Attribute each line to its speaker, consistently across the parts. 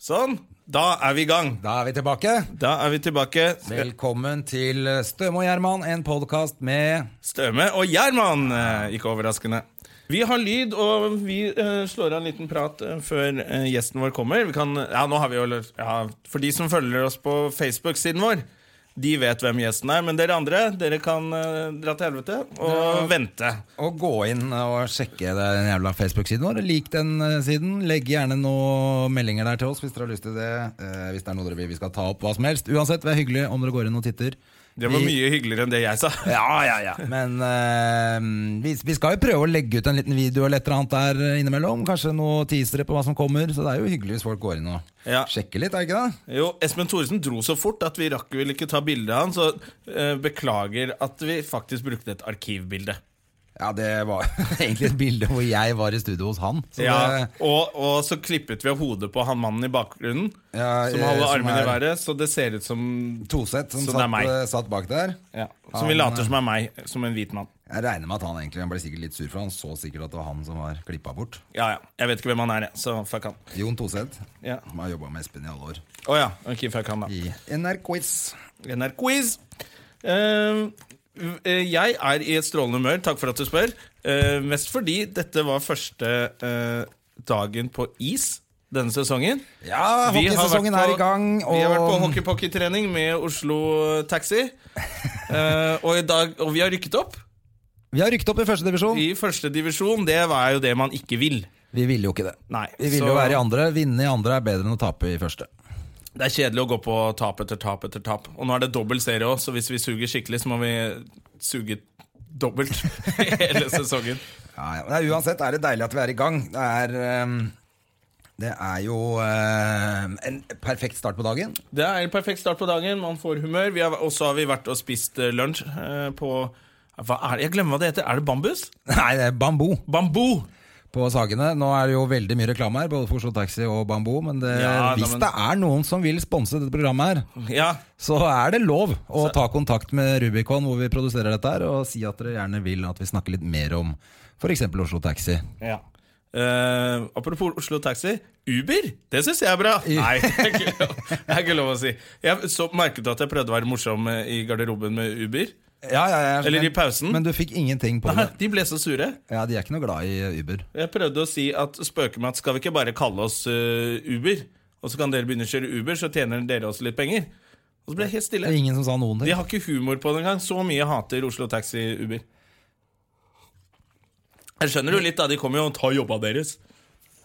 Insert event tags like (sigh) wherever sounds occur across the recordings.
Speaker 1: Sånn. Da er vi i gang.
Speaker 2: Da er vi tilbake.
Speaker 1: Da er vi tilbake.
Speaker 2: Velkommen til Støme og Gjerman, en podkast med
Speaker 1: Støme og Gjerman, eh, ikke overraskende. Vi har lyd, og vi eh, slår av en liten prat eh, før eh, gjesten vår kommer. Vi kan, ja, nå har vi jo, lø- ja, for de som følger oss på Facebook-siden vår, de vet hvem gjesten er. Men dere andre dere kan eh, dra til helvete og vente.
Speaker 2: å gå inn og sjekke den jævla Facebook-siden vår. Lik den eh, siden. Legg gjerne noen meldinger der til oss hvis dere har lyst til det. Eh, hvis det er noe dere vil vi skal ta opp. Hva som helst. Uansett, det er hyggelig om dere går inn og titter.
Speaker 1: Det var mye hyggeligere enn det jeg sa.
Speaker 2: (laughs) Ja, ja, ja. Men eh, vi, vi skal jo prøve å legge ut en liten video eller et eller annet der eh, innimellom. Kanskje noen teasere på hva som kommer. Så det er jo hyggelig hvis folk går inn og
Speaker 1: Ja.
Speaker 2: sjekker litt, er det ikke det?
Speaker 1: Jo, Espen Thoresen dro så fort at vi rakk vel ikke ta bilde av han, så eh, beklager at vi faktisk brukte et arkivbilde.
Speaker 2: Ja, det var (laughs) egentlig et bilde hvor jeg var i studio hos han. Så
Speaker 1: Ja,
Speaker 2: det,
Speaker 1: og, og så klippet vi av hodet på han mannen i bakgrunnen.
Speaker 2: Ja,
Speaker 1: som
Speaker 2: eh,
Speaker 1: holder
Speaker 2: som
Speaker 1: armene
Speaker 2: er-
Speaker 1: i været, så det ser ut som
Speaker 2: Toseth som
Speaker 1: Så det er
Speaker 2: satt,
Speaker 1: meg.
Speaker 2: eh, satt bak der.
Speaker 1: ja, Som vi
Speaker 2: Han,
Speaker 1: later
Speaker 2: eh,
Speaker 1: som er meg, som en hvit mann.
Speaker 2: Jeg regner med at han egentlig han ble sikkert litt sur, for han så sikkert at det var han som var klippa bort.
Speaker 1: Ja, ja. Jeg vet ikke hvem han er, jeg, så fuck han.
Speaker 2: Jon Toseth,
Speaker 1: Ja.
Speaker 2: som har jobba med Espen i alle år,
Speaker 1: Å ja. Ok, fuck han, da.
Speaker 2: i NRK-quiz.
Speaker 1: NRK-quiz. Ehm, eh, jeg er i et strålende humør, takk for at du spør. Eh, mest fordi dette var første eh, dagen på is denne sesongen.
Speaker 2: Ja,
Speaker 1: Vi har
Speaker 2: hockeysesongen
Speaker 1: vært
Speaker 2: er
Speaker 1: på-
Speaker 2: i gang, og
Speaker 1: Vi har vært på hockeypockettrening med Oslo
Speaker 2: (laughs)
Speaker 1: Taxi. Eh, og, i dag, og vi har rykket opp
Speaker 2: vi har rykket opp i førstedivisjon.
Speaker 1: i første divisjon. Det var jo det man ikke vil.
Speaker 2: Vi ville jo ikke det.
Speaker 1: Nei,
Speaker 2: Vi ville
Speaker 1: så-
Speaker 2: jo være i andre. Vinne i andre er bedre enn å tape i første.
Speaker 1: Det er kjedelig å gå på tap etter tap etter tap. Og nå er det dobbel serie òg, så hvis vi suger skikkelig, så må vi suge dobbelt (laughs) hele sesongen.
Speaker 2: Ja, ja. Nei, uansett er det deilig at vi er i gang. Det er, ehm, det er jo ehm, en perfekt start på dagen.
Speaker 1: Det er en perfekt start på dagen. Man får humør. Vi har- Og så har vi vært og spist eh, lunsj eh, på hva er det? Jeg glemmer hva det heter. Er det bambus?
Speaker 2: Nei, det er bambu
Speaker 1: Bambu!
Speaker 2: på Sagene. Nå er det jo veldig mye reklame her, både for Oslo Taxi og Bambu. Men det,
Speaker 1: Ja, da,
Speaker 2: hvis
Speaker 1: men-
Speaker 2: det er noen som vil sponse dette programmet her,
Speaker 1: Ja.
Speaker 2: så er det lov å ta kontakt med Rubicon, hvor vi produserer dette her, og si at dere gjerne vil at vi snakker litt mer om f.eks. Oslo Taxi.
Speaker 1: ja. Eh, apropos Oslo Taxi. Uber, det syns jeg er bra! Nei, det er ikke lov, det er ikke lov å si. Jeg så, merket du at jeg prøvde å være morsom eh, i garderoben med Uber?
Speaker 2: Ja, ja, ja,
Speaker 1: Eller i
Speaker 2: men-
Speaker 1: pausen.
Speaker 2: Men du fikk ingenting på
Speaker 1: Nei,
Speaker 2: det.
Speaker 1: de ble så sure.
Speaker 2: Ja, De er ikke noe glad i Uber.
Speaker 1: Jeg prøvde å si at spøke med at skal vi ikke bare kalle oss eh, Uber? Og så kan dere begynne å kjøre Uber, så tjener dere også litt penger. Og så ble jeg helt
Speaker 2: Det er
Speaker 1: stille.
Speaker 2: ingen som sa noen
Speaker 1: De
Speaker 2: ting.
Speaker 1: har ikke humor på det engang. Så mye hater Oslo Taxi Uber. Jeg skjønner jo litt, da. De kommer jo og tar jobba deres.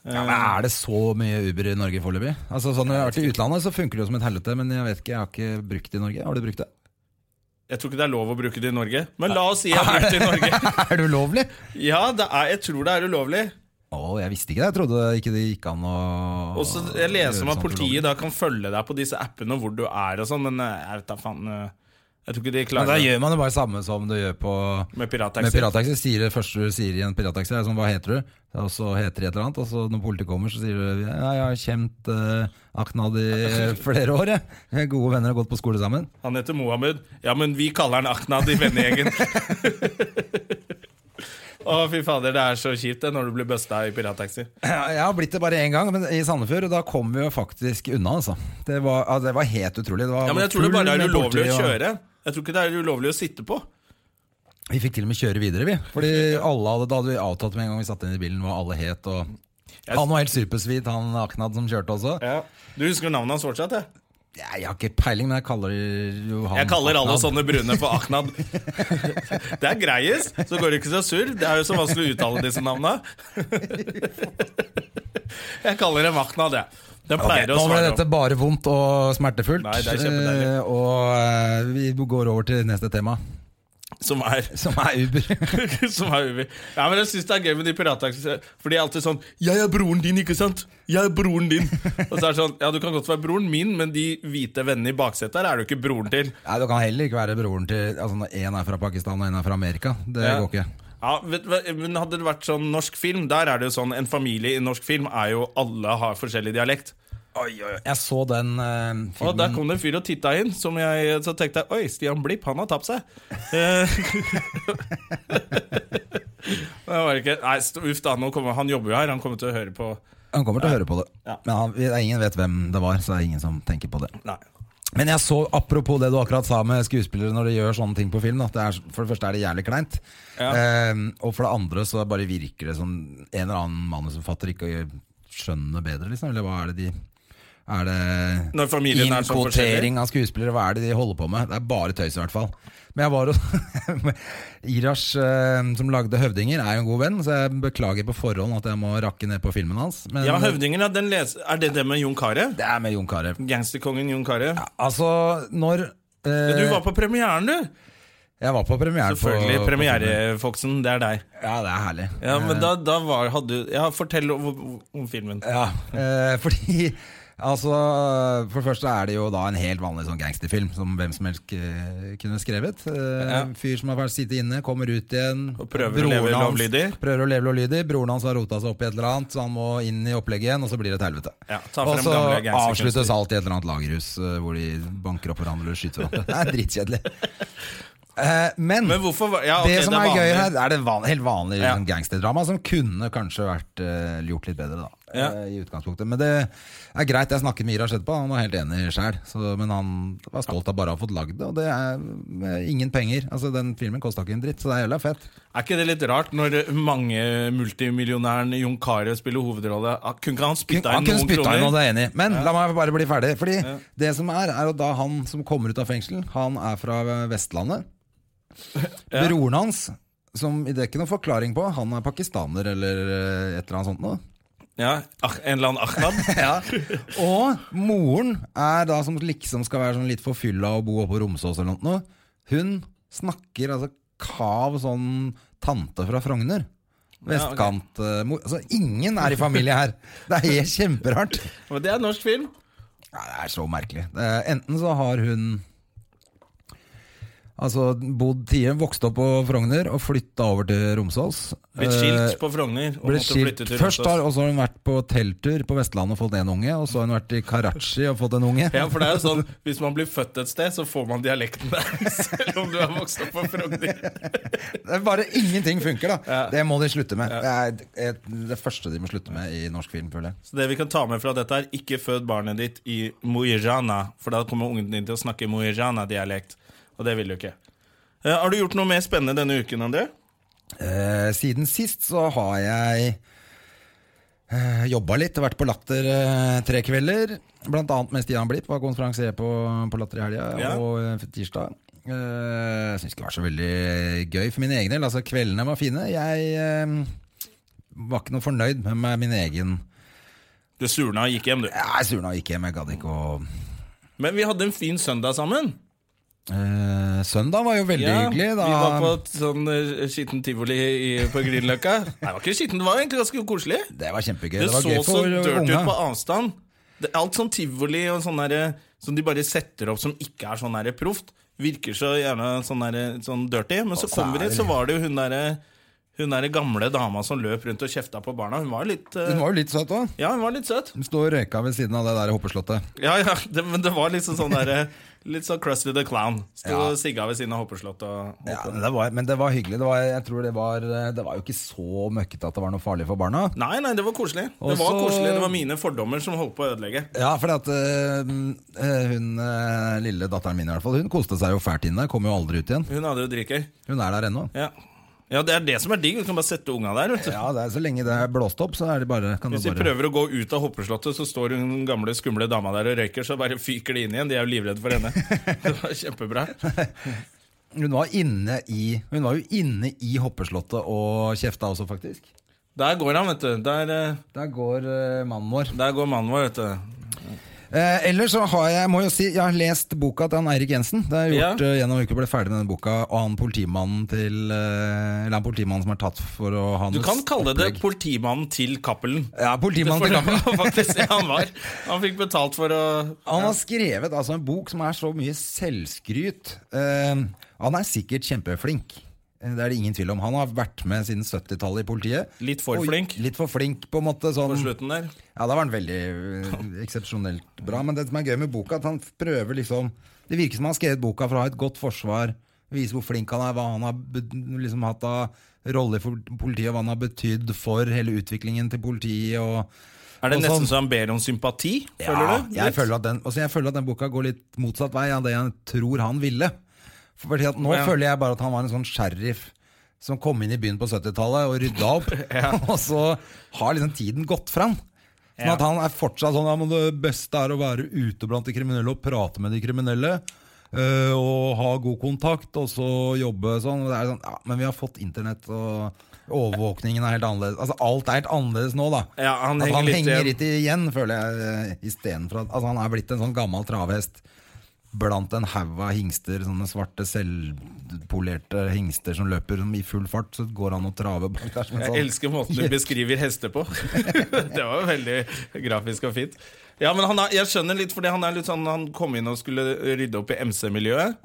Speaker 2: Ja, men Er det så mye Uber i Norge foreløpig? Altså, sånn, når jeg har vært I utlandet så funker det jo som et helvete, men jeg vet ikke, jeg har ikke brukt det i Norge. Har du brukt det? (laughs)
Speaker 1: Jeg tror ikke det er lov å bruke det i Norge, men la oss si
Speaker 2: (laughs)
Speaker 1: jeg har brukt det i Norge.
Speaker 2: Er det ulovlig?
Speaker 1: Ja, det er, jeg tror det er ulovlig.
Speaker 2: Å, jeg visste ikke det. Jeg trodde ikke det gikk an å
Speaker 1: Og så Jeg leser om
Speaker 2: gjøre
Speaker 1: at
Speaker 2: sånn sånt ulovlig.
Speaker 1: politiet da kan følge deg på disse appene og hvor du er og sånn, men eh, jeg vet da faen eh, Jeg tror ikke de
Speaker 2: Men da
Speaker 1: klarer det
Speaker 2: gjør man jo bare samme som du gjør på
Speaker 1: med
Speaker 2: med
Speaker 1: pirattaxi.
Speaker 2: pirattaxi. Sier det første du sier i en pirattaxi, er sånn 'hva heter du?' Og så heter de et eller annet, og så når politiet kommer, så sier du 'ja, jeg har kjent eh, Aknad i eh,
Speaker 1: (laughs)
Speaker 2: flere år', jeg. Vi er gode venner og har gått på skole sammen.
Speaker 1: Han heter Mohammed. Ja, men vi kaller han Aknad i
Speaker 2: (laughs)
Speaker 1: vennegjengen. Å, fy fader, det er så kjipt det når du blir busta i pirattaxi.
Speaker 2: Ja, Jeg har blitt det bare én gang, men i Sandefjord, og da kom vi jo faktisk unna, altså. Det var, ja, det var helt utrolig. Det var
Speaker 1: Ja, men jeg tror det
Speaker 2: full
Speaker 1: bare er
Speaker 2: med
Speaker 1: ulovlig
Speaker 2: politi,
Speaker 1: å
Speaker 2: og-
Speaker 1: kjøre. Jeg tror ikke det er ulovlig å sitte på.
Speaker 2: Vi fikk til og med kjøre videre, vi.
Speaker 1: (laughs)
Speaker 2: Fordi alle hadde, da hadde vi avtalt med en gang vi satt inn i bilen hva alle het, og han var helt supersvit, han Aknad som kjørte også.
Speaker 1: Du husker navnet hans fortsatt? Jeg,
Speaker 2: Ja, Jeg har ikke peiling, men jeg kaller jo han
Speaker 1: jeg kaller alle
Speaker 2: Aknad.
Speaker 1: sånne brune for
Speaker 2: (laughs)
Speaker 1: Aknad. Det er greiest, så går det ikke så surr. Det er jo så vanskelig å uttale disse navna. Jeg kaller dem Aknad, jeg. Den
Speaker 2: Ok,
Speaker 1: pleier
Speaker 2: nå
Speaker 1: å
Speaker 2: ble
Speaker 1: svare.
Speaker 2: dette bare vondt og smertefullt.
Speaker 1: Nei, det er kjempedeilig.
Speaker 2: Eh, og eh, vi går over til neste tema. (laughs)
Speaker 1: om. Som er (laughs)
Speaker 2: Som er Uber.
Speaker 1: som er Uber. Ja, men jeg synes det er gøy med de pirataktiene. For de er alltid sånn 'Jeg er broren din, ikke sant?' 'Jeg er broren din'. Og så er det sånn Ja, du kan godt være broren min, men de hvite vennene i baksetet her er du ikke broren til.
Speaker 2: Nei, Du kan heller ikke være broren til Altså når én er fra Pakistan og én er fra Amerika. Det
Speaker 1: Ja.
Speaker 2: går ikke.
Speaker 1: Ja, vet, du hva, men Hadde det vært sånn norsk film, der er det jo sånn En familie i norsk film er jo alle har forskjellig dialekt.
Speaker 2: Jeg så den eh,
Speaker 1: Og
Speaker 2: filmen
Speaker 1: der kom det en fyr og titta inn, som jeg så tenkte jeg, Oi, Stian Blipp, han har tapt (laughs) seg. Eh, det var ikke Nei, st- uff da, nå kommer, han jobber jo her, han kommer til å høre på
Speaker 2: Han kommer til å høre på det.
Speaker 1: Ja.
Speaker 2: Men han, det er ingen vet hvem det var, så det er ingen som tenker på det.
Speaker 1: Nei.
Speaker 2: Men jeg så, apropos det du akkurat sa med skuespillere når de gjør sånne ting på film, da, det er, for det første er det jævlig kleint.
Speaker 1: Ja.
Speaker 2: Eh, og for det andre så bare virker det som en eller annen manusforfatter ikke skjønner bedre, liksom. Eller hva er det de Er det
Speaker 1: Når familien er så forskjellig.
Speaker 2: innkvotering av skuespillere? Hva er det de holder på med? Det er bare tøys, i hvert fall. Men jeg var hos (laughs) Irash, eh, som lagde 'Høvdinger', er jo en god venn, så jeg beklager på forhånd at jeg må rakke ned på filmen hans. Men
Speaker 1: Ja, Høvdingen, ja, den les, er det det med Jon Carew?
Speaker 2: det er med Jon Carew.
Speaker 1: Gangsterkongen Jon Carew?
Speaker 2: Altså, når eh,
Speaker 1: Du var på premieren, du!
Speaker 2: Jeg var på premiere på
Speaker 1: Selvfølgelig.
Speaker 2: på-
Speaker 1: Premierefoksen, det er deg.
Speaker 2: Ja, det er herlig.
Speaker 1: Ja, men da, da var, hadde du Ja, fortell om, om filmen.
Speaker 2: Ja, (laughs) eh, fordi Altså, For det første er det jo da en helt vanlig sånn gangsterfilm som hvem som helst eh, kunne skrevet. Eh,
Speaker 1: Ja.
Speaker 2: Fyr som har vært sittet inne, kommer ut igjen.
Speaker 1: Og prøver å leve lovlydig.
Speaker 2: Prøver å leve lovlydig Broren hans har rota seg opp i et eller annet, så han må inn i opplegget igjen, og så blir det et helvete.
Speaker 1: Ja, ta
Speaker 2: og
Speaker 1: frem
Speaker 2: så
Speaker 1: gamle gangsterkunster.
Speaker 2: avsluttes alt i et eller annet lagerhus eh, hvor de banker opp hverandre og skyter hverandre. Det er dritkjedelig. Eh, men,
Speaker 1: Men hvorfor var- ja, ok,
Speaker 2: det som
Speaker 1: det er
Speaker 2: er, gøy
Speaker 1: vanlig.
Speaker 2: her, er det van, helt vanlig
Speaker 1: Ja.
Speaker 2: sånn gangsterdrama som kunne kanskje vært eh, gjort litt bedre, da.
Speaker 1: Ja.
Speaker 2: eh, I utgangspunktet. Men det er greit. Jeg snakket med Ira etterpå, han var helt enig sjæl. Men han var stolt av bare å ha fått lagd det, og det er eh, ingen penger. Altså, den filmen kosta ikke en dritt, så det er jævla fett.
Speaker 1: Er ikke det litt rart når mange multimillionæren Jon Carew spiller hovedrolle? Ah, Kunne ikke han spytta
Speaker 2: Han
Speaker 1: inn
Speaker 2: kunne
Speaker 1: noen
Speaker 2: spytta inn, og
Speaker 1: kroner?
Speaker 2: det er jeg enig. i. Men la meg bare bli ferdig. Fordi det som er, er jo da han som kommer ut av fengsel, han er fra
Speaker 1: (laughs)
Speaker 2: Vestlandet. Broren hans, som det er ikke noen forklaring på, han er pakistaner eller eh, et eller annet sånt noe.
Speaker 1: Ja, ah, En eller annen (laughs) Ahmad?
Speaker 2: Og moren er da som liksom skal være sånn litt forfylla og bo oppe på Romsås eller noe. Hun snakker altså kav sånn tante fra Frogner. Vestkant eh, mor- Altså ingen er i familie her! Det er helt kjemperart.
Speaker 1: Og det er norsk film.
Speaker 2: Ja, det er så merkelig. Det er- Enten så har hun Altså bodd tidligere, vokst opp på Frogner og flytta over til Romsås. Eh,
Speaker 1: Blitt skilt på Frogner. Og
Speaker 2: Ble
Speaker 1: måtte
Speaker 2: skilt.
Speaker 1: flytte til
Speaker 2: Først har,
Speaker 1: Rødstad.
Speaker 2: og så har hun vært på telttur på Vestlandet og fått en unge. Og så har hun vært i Karachi og fått en unge.
Speaker 1: Ja, for det er jo sånn, Hvis man blir født et sted, så får man dialekten der. (laughs) Selv om du er vokst opp på Frogner.
Speaker 2: Det er bare ingenting funker, da.
Speaker 1: Ja.
Speaker 2: Det må de slutte med. Det er et- det første de må slutte med i norsk film, føler jeg.
Speaker 1: Så det vi kan ta med fra dette, er ikke fød barnet ditt i Mujana, for da kommer ungen din til å snakke Mujana-dialekt. Og det vil du ikke. Eh, har du gjort noe mer spennende denne uken, André?
Speaker 2: Eh, siden sist så har jeg eh, jobba litt, vært på Latter eh, tre kvelder. Blant annet med Stian Blipp, var konferansier på, på Latter i helga
Speaker 1: Ja.
Speaker 2: og eh, tirsdag. Eh, Jeg syns ikke det var så veldig gøy for min egen del. Altså, kveldene var fine. Jeg eh, var ikke noe fornøyd med meg- min egen
Speaker 1: Du surna og gikk hjem, du.
Speaker 2: Jeg surna og gikk hjem, jeg gadd ikke å
Speaker 1: Men vi hadde en fin søndag sammen.
Speaker 2: Eh, Søndag var jo veldig hyggelig. Da.
Speaker 1: Vi var på et sånn eh, skittent tivoli i, på Grünerløkka.
Speaker 2: (laughs)
Speaker 1: Nei, det var ikke skittent, det var egentlig ganske koselig.
Speaker 2: Det var kjempegøy.
Speaker 1: Det,
Speaker 2: Det, var
Speaker 1: så
Speaker 2: gøy
Speaker 1: så
Speaker 2: for
Speaker 1: dirty ut på
Speaker 2: unga.
Speaker 1: avstand. Det, alt sånn tivoli og sånn derre som de bare setter opp som ikke er sånn derre proft, virker så gjerne sånn, derre- sånn dirty. Men så
Speaker 2: Og
Speaker 1: kom vi dit,
Speaker 2: særlig.
Speaker 1: så var det jo hun derre hun der gamle dama som løp rundt og kjefta på barna. Hun var litt eh,
Speaker 2: Hun var jo litt søt òg.
Speaker 1: Ja, hun var litt søt.
Speaker 2: Hun står og røyka ved siden av det der hoppeslottet.
Speaker 1: Ja, ja, det, Men det var liksom sånn derre Litt sånn Crusty the Clown. Sto
Speaker 2: Ja.
Speaker 1: og sigga ved siden av Hoppeslottet og
Speaker 2: Ja, men det var, men det var hyggelig. Det var, jeg tror det var, det var jo ikke så møkkete at det var noe farlig for barna.
Speaker 1: Nei, nei, det var koselig.
Speaker 2: Og
Speaker 1: det var
Speaker 2: så-
Speaker 1: koselig, det var mine fordommer som holdt på å ødelegge.
Speaker 2: Ja, for at øh, øh, hun øh, lille datteren min i hvert fall, hun koste seg jo fælt inne. Kom jo aldri ut igjen.
Speaker 1: Hun hadde jo dritgøy.
Speaker 2: Hun er der ennå.
Speaker 1: Ja. ja, det er det som er digg. Du kan bare sette unga der. Vet du.
Speaker 2: Ja, det er, Så lenge det er blåst opp, så er det bare, kan det
Speaker 1: Hvis de
Speaker 2: bare
Speaker 1: prøver å gå ut av Hoppeslottet, så står hun gamle, skumle dama der og røyker, så bare fyker de inn igjen. De er jo livredde for
Speaker 2: (laughs)
Speaker 1: henne. Det var kjempebra.
Speaker 2: Hun var, inne i, hun var jo inne i hoppeslottet og kjefta også, faktisk.
Speaker 1: Der går han, vet du. Der, eh,
Speaker 2: Der går øh, mannen vår.
Speaker 1: der går mannen vår, vet du.
Speaker 2: Eh, ellers så har jeg, må jeg jo si, jeg har lest boka til han Eirik Jensen. Det har jeg gjort
Speaker 1: Ja.
Speaker 2: eh, gjennom uka, ble ferdig med den boka. Og han politimannen til eh, Eller han politimannen som er tatt for å ha
Speaker 1: Du kan kalle det
Speaker 2: opplegg.
Speaker 1: politimannen til Cappelen.
Speaker 2: Ja, politimannen
Speaker 1: For
Speaker 2: til
Speaker 1: det
Speaker 2: Kappen.
Speaker 1: (laughs) var faktisk det han var. Han fikk betalt for å
Speaker 2: Han har skrevet altså, en bok som er så mye selvskryt. Eh, han er sikkert kjempeflink. Eh, Det er det ingen tvil om. Han har vært med siden 70-tallet i politiet.
Speaker 1: Litt for
Speaker 2: Og
Speaker 1: flink.
Speaker 2: Litt for flink, på en måte. Sånn,
Speaker 1: På slutten der.
Speaker 2: Ja, da var han veldig eh, eksepsjonelt bra. Men det som er gøy med boka, at han prøver liksom Det virker som han har skrevet boka for å ha et godt forsvar. Vise hvor flink han er, hva han har bet- liksom hatt av rolle for politiet, og hva han har betydd for hele utviklingen til politiet. og
Speaker 1: Er det
Speaker 2: Og
Speaker 1: nesten
Speaker 2: sånn.
Speaker 1: så han ber om sympati? Føler
Speaker 2: ja,
Speaker 1: du?
Speaker 2: Jeg
Speaker 1: Litt?
Speaker 2: føler, at den, altså jeg føler at den boka går litt motsatt vei av det jeg tror han ville. For fordi at nå
Speaker 1: Ja.
Speaker 2: føler jeg bare at han var en sånn sheriff som kom inn i byen på 70-tallet og rydda
Speaker 1: (laughs)
Speaker 2: opp. (laughs) Og så har liksom tiden gått fram. Sånn at han er fortsatt sånn at det beste er å være ute blant de kriminelle og prate med de kriminelle. øh, og ha god kontakt, og så jobbe sånn. Og det er sånn ja, men vi har fått internett, og overvåkningen er helt annerledes. Altså Alt er helt annerledes nå, da.
Speaker 1: Ja, han
Speaker 2: At
Speaker 1: henger
Speaker 2: han
Speaker 1: litt
Speaker 2: henger
Speaker 1: igjen.
Speaker 2: litt igjen, føler jeg. eh, Istedenfor at altså, han er blitt en sånn gammel travhest blant en haug av hingster. Sånne svarte, selvpolerte hingster som løper som i full fart. Så går han og traver bak der. som en
Speaker 1: Jeg
Speaker 2: sånn-
Speaker 1: elsker måten
Speaker 2: (laughs)
Speaker 1: du beskriver hester på. (laughs) det var jo veldig grafisk og fint. Ja, men han er, Jeg skjønner litt, fordi han er litt sånn Han kom inn og skulle rydde opp i MC-miljøet.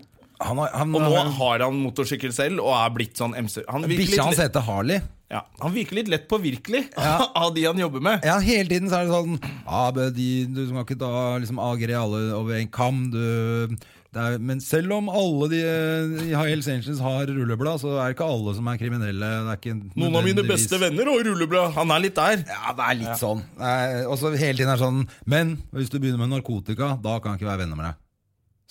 Speaker 2: Han har- han-
Speaker 1: Og nå har han motorsykkel selv og er blitt sånn MC. Han virker
Speaker 2: Bikkja hans
Speaker 1: litt,
Speaker 2: heter Harley.
Speaker 1: ja, han virker litt lett påvirkelig (laughs) av de han jobber med.
Speaker 2: Ja, hele tiden så er det sånn ah, men de, Du skal ikke da liksom agere alle over en kam. Du, det er, men selv om alle de eh, i Hells Angels har rulleblad, så er det ikke alle som er kriminelle. Det er ikke
Speaker 1: Noen av mine
Speaker 2: nødvendigvis-
Speaker 1: beste venner og rulleblad. Han er litt der.
Speaker 2: Ja, det er litt sånn. Eh, Og så hele tiden er det sånn Men hvis du begynner med narkotika, da kan jeg ikke være venner med deg.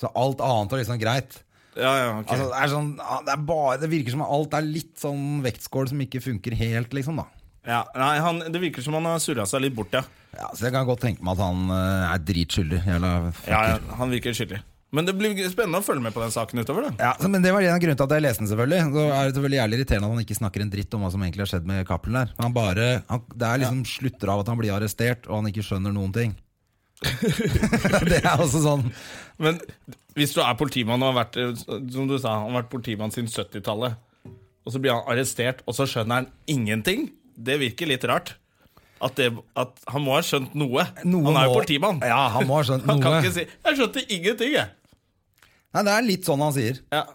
Speaker 2: Så alt annet er liksom greit.
Speaker 1: Ja, ja, ok
Speaker 2: Altså, det, er sånn, ah, det, er bare, det virker som alt er litt sånn vektskål som ikke funker helt, liksom, da.
Speaker 1: ja, nei, han, Det virker som han har surra seg litt bort, ja.
Speaker 2: Ja, så jeg kan godt tenke meg at han eh, er dritskyldig. Jævla fucker.
Speaker 1: ja, ja han virker skyldig. Men det blir spennende å følge med på den saken utover. da
Speaker 2: Ja, så, men Det var en av grunnene til at jeg leste den. selvfølgelig Så er det selvfølgelig jævlig irriterende at han ikke snakker en dritt om hva som egentlig har skjedd med Cappelen der. Men Han bare, han, det er liksom slutter av at han blir arrestert, og han ikke skjønner noen ting. (laughs) det er også sånn
Speaker 1: Men hvis du er politimann og har vært eh, Som du sa, han har vært politimann siden 70-tallet, og så blir han arrestert, og så skjønner han ingenting, det virker litt rart. At, det, at han må ha skjønt noe.
Speaker 2: Noe
Speaker 1: han er jo
Speaker 2: må-
Speaker 1: politimann.
Speaker 2: Ja, han må ha skjønt
Speaker 1: (laughs) Han kan
Speaker 2: noe.
Speaker 1: ikke si 'Jeg skjønte ingenting', jeg.
Speaker 2: Nei, Det er litt sånn han sier.
Speaker 1: Ja.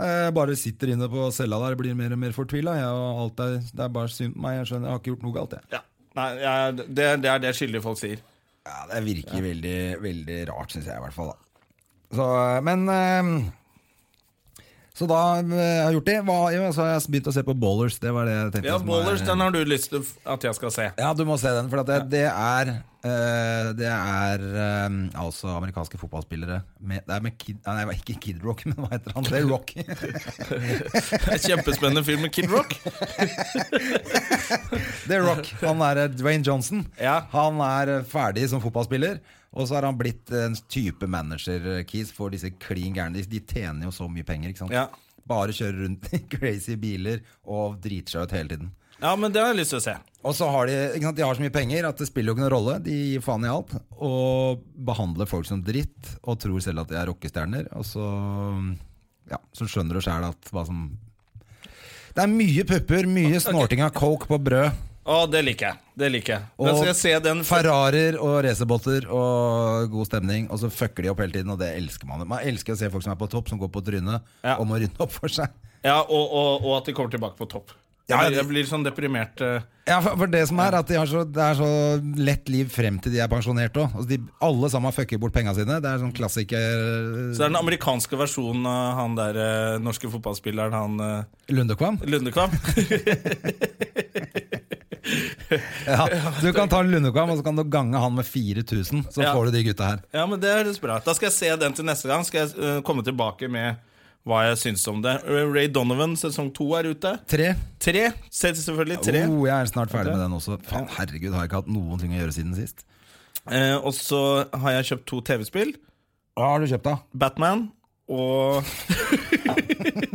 Speaker 2: Jeg bare sitter inne på cella der blir mer og mer fortvila. jeg, og alt er- Det er bare synd på meg. Jeg skjønner, jeg har ikke gjort noe galt. Jeg.
Speaker 1: Ja. Nei, ja, det, det er det skyldige folk sier.
Speaker 2: Ja, Det virker veldig, veldig rart, syns jeg i hvert fall. da så, Men eh, Så da eh, jeg har gjort det. Hva, jo, så har jeg begynt å se på Ballers. Det var det jeg tenkte.
Speaker 1: Ja,
Speaker 2: som
Speaker 1: Ballers,
Speaker 2: er-
Speaker 1: den har du lyst til at jeg skal se.
Speaker 2: (laughs) Ja, du må se den, for at det, det er eh, Det er eh, altså amerikanske fotballspillere med, Det er med Kid Nei, det var ikke Kid Rock, (laughs) men hva heter han? Det er Rock.
Speaker 1: Kjempespennende film med Kid Rock.
Speaker 2: Det er
Speaker 1: (laughs)
Speaker 2: Rock. Han er eh, Dwayne Johnson.
Speaker 1: Ja.
Speaker 2: Han er eh, ferdig som fotballspiller, og så har han blitt eh, en type manager-keys for disse klin gærne. De- De tjener jo så mye penger, ikke sant.
Speaker 1: Ja.
Speaker 2: Bare kjører rundt i (laughs) crazy biler og driter seg ut hele tiden.
Speaker 1: Ja, men det har jeg lyst til å se.
Speaker 2: Og så har de, ikke sant, de har så mye penger at det spiller jo ikke noen rolle. De gir faen i alt. Og behandler folk som dritt og tror selv at de er rockestjerner. Og så, ja, så skjønner du sjæl at hva som Det er mye pupper,
Speaker 1: (laughs)
Speaker 2: mye snorting av coke på brød.
Speaker 1: Å, det liker jeg. Det liker jeg.
Speaker 2: Og
Speaker 1: Men skal jeg se den
Speaker 2: Ferrarier og racerbåter og god stemning. Og så fucker de opp hele tiden, og det elsker man. Man elsker å se folk som er på topp, som går på trynet
Speaker 1: Ja.
Speaker 2: og må rydde opp for seg.
Speaker 1: Ja, og, og, og at de kommer tilbake på topp. Jeg,
Speaker 2: Ja,
Speaker 1: blir- jeg blir sånn deprimert. eh.
Speaker 2: Ja, for, for det som er at de har så, Det er så lett liv frem til de er pensjonert òg. Altså, de- alle sammen har fucket bort penga sine. Det er sånn klassiker
Speaker 1: Så det er den amerikanske versjonen av han der eh, norske fotballspilleren, han eh,
Speaker 2: Lundekvam.
Speaker 1: Lundekvam. (laughs)
Speaker 2: Ja, du kan ta en Lundekvam og så kan du gange han med 4000, så
Speaker 1: Ja.
Speaker 2: får du de gutta her.
Speaker 1: Ja, men det høres bra ut. Da skal jeg se den til neste gang. Skal jeg eh, komme tilbake med hva jeg syns om det. Eh, Ray Donovan, sesong to er ute.
Speaker 2: Tre.
Speaker 1: Tre. Se selvfølgelig tre.
Speaker 2: Oh, jeg er snart ferdig med den også. Faen, herregud, har jeg ikke hatt noen ting å gjøre siden sist.
Speaker 1: Eh, og så har jeg kjøpt to TV-spill.
Speaker 2: Hva har du kjøpt, da?
Speaker 1: Batman og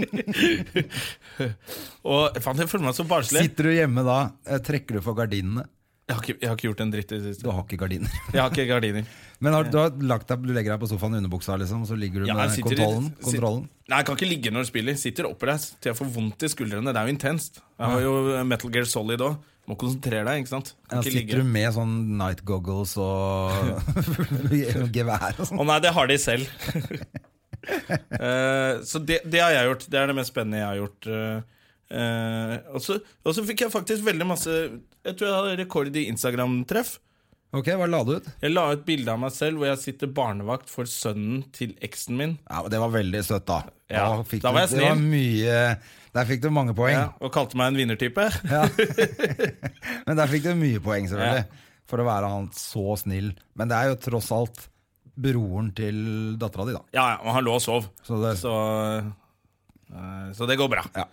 Speaker 1: (laughs) Og faen, jeg føler meg så barnslig.
Speaker 2: Sitter du hjemme da? eh, Trekker du for gardinene?
Speaker 1: Jeg har, ikke, jeg har ikke gjort en dritt i det
Speaker 2: Du
Speaker 1: siste.
Speaker 2: har ikke gardiner. (laughs)
Speaker 1: Jeg har ikke gardiner.
Speaker 2: Men har, du, har lagt deg, du legger deg på sofaen i underbuksa, liksom, så ligger du
Speaker 1: Ja,
Speaker 2: med
Speaker 1: jeg sitter i-
Speaker 2: kontrollen?
Speaker 1: sit-
Speaker 2: kontrollen.
Speaker 1: Nei, jeg kan ikke ligge når jeg spiller. Sitter oppreist til jeg får vondt i skuldrene. Det er jo intenst. Jeg har jo Metal Gear Solid òg. Må konsentrere deg, ikke sant. Kan
Speaker 2: Ja,
Speaker 1: ikke
Speaker 2: sitter
Speaker 1: ligge.
Speaker 2: du med sånn night goggles
Speaker 1: (laughs)
Speaker 2: og (laughs) gevær og
Speaker 1: Å
Speaker 2: sånn?
Speaker 1: nei, det har de selv. (laughs) Eh, så det, det har jeg gjort. Det er det mest spennende jeg har gjort. Eh, eh, og, så, og så fikk jeg faktisk veldig masse Jeg tror jeg hadde rekord i Instagram-treff.
Speaker 2: Ok, hva la du ut?
Speaker 1: Jeg la ut bilde av meg selv hvor jeg sitter barnevakt for sønnen til eksen min.
Speaker 2: Ja, men Det var veldig søtt, da.
Speaker 1: Ja,
Speaker 2: fikk
Speaker 1: da
Speaker 2: du-
Speaker 1: var jeg
Speaker 2: Det var
Speaker 1: snill.
Speaker 2: mye, der fikk du mange poeng.
Speaker 1: Ja, og kalte meg en vinnertype.
Speaker 2: Men der fikk du mye poeng, selvfølgelig. For å være han så snill. Men det er jo tross alt broren til dattera di, da.
Speaker 1: Ja, ja, og han lå og sov.
Speaker 2: Så det,
Speaker 1: Så, eh, så det går bra.
Speaker 2: Ja.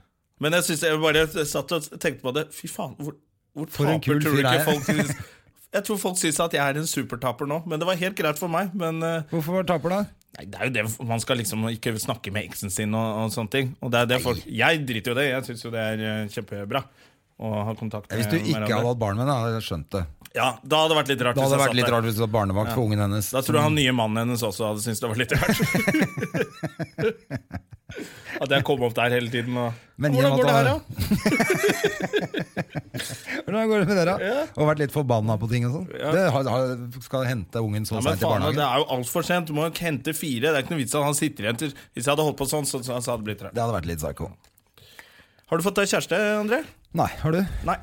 Speaker 1: Men jeg synes jeg bare satt og tenkte på det. Fy faen, hvor, hvor
Speaker 2: For en
Speaker 1: taper
Speaker 2: kul
Speaker 1: tror du
Speaker 2: fyr
Speaker 1: ikke
Speaker 2: jeg er.
Speaker 1: folk synes Jeg tror folk syns at jeg er en supertaper nå, men det var helt greit for meg. Men eh,
Speaker 2: hvorfor taper du, da?
Speaker 1: nei, det er jo det man skal liksom ikke snakke med eksen sin og, og sånne ting. Og det er det folk Jeg driter jo i det. Jeg syns jo det er eh, kjempebra å ha kontakt med
Speaker 2: Hvis du ikke
Speaker 1: hverandre.
Speaker 2: hadde hatt barn med henne, hadde jeg skjønt det.
Speaker 1: Ja, da hadde det vært litt rart.
Speaker 2: Da
Speaker 1: hvis
Speaker 2: hadde det
Speaker 1: jeg
Speaker 2: vært litt
Speaker 1: satt der.
Speaker 2: rart hvis du var barnevakt for ungen hennes.
Speaker 1: Da tror jeg han nye mannen hennes også hadde syntes det var litt rart.
Speaker 2: (laughs)
Speaker 1: at jeg kom opp der hele tiden og
Speaker 2: Men
Speaker 1: Hvordan
Speaker 2: gjennom
Speaker 1: går det
Speaker 2: at
Speaker 1: her,
Speaker 2: han-
Speaker 1: da?
Speaker 2: Hvordan går det med dere? Og vært litt forbanna på ting og sånn?
Speaker 1: Ja.
Speaker 2: Det har, har, skal hente ungen så
Speaker 1: Ja, men
Speaker 2: seint
Speaker 1: faen,
Speaker 2: i
Speaker 1: Det
Speaker 2: barnehagen?
Speaker 1: er jo altfor sent. Du må jo hente fire. Det er ikke noe vits at han sitter igjen til Hvis jeg hadde holdt på sånn, så, så hadde det blitt rart.
Speaker 2: Det hadde vært litt psycho.
Speaker 1: Har du fått deg kjæreste, André?
Speaker 2: Nei, har du?
Speaker 1: Nei.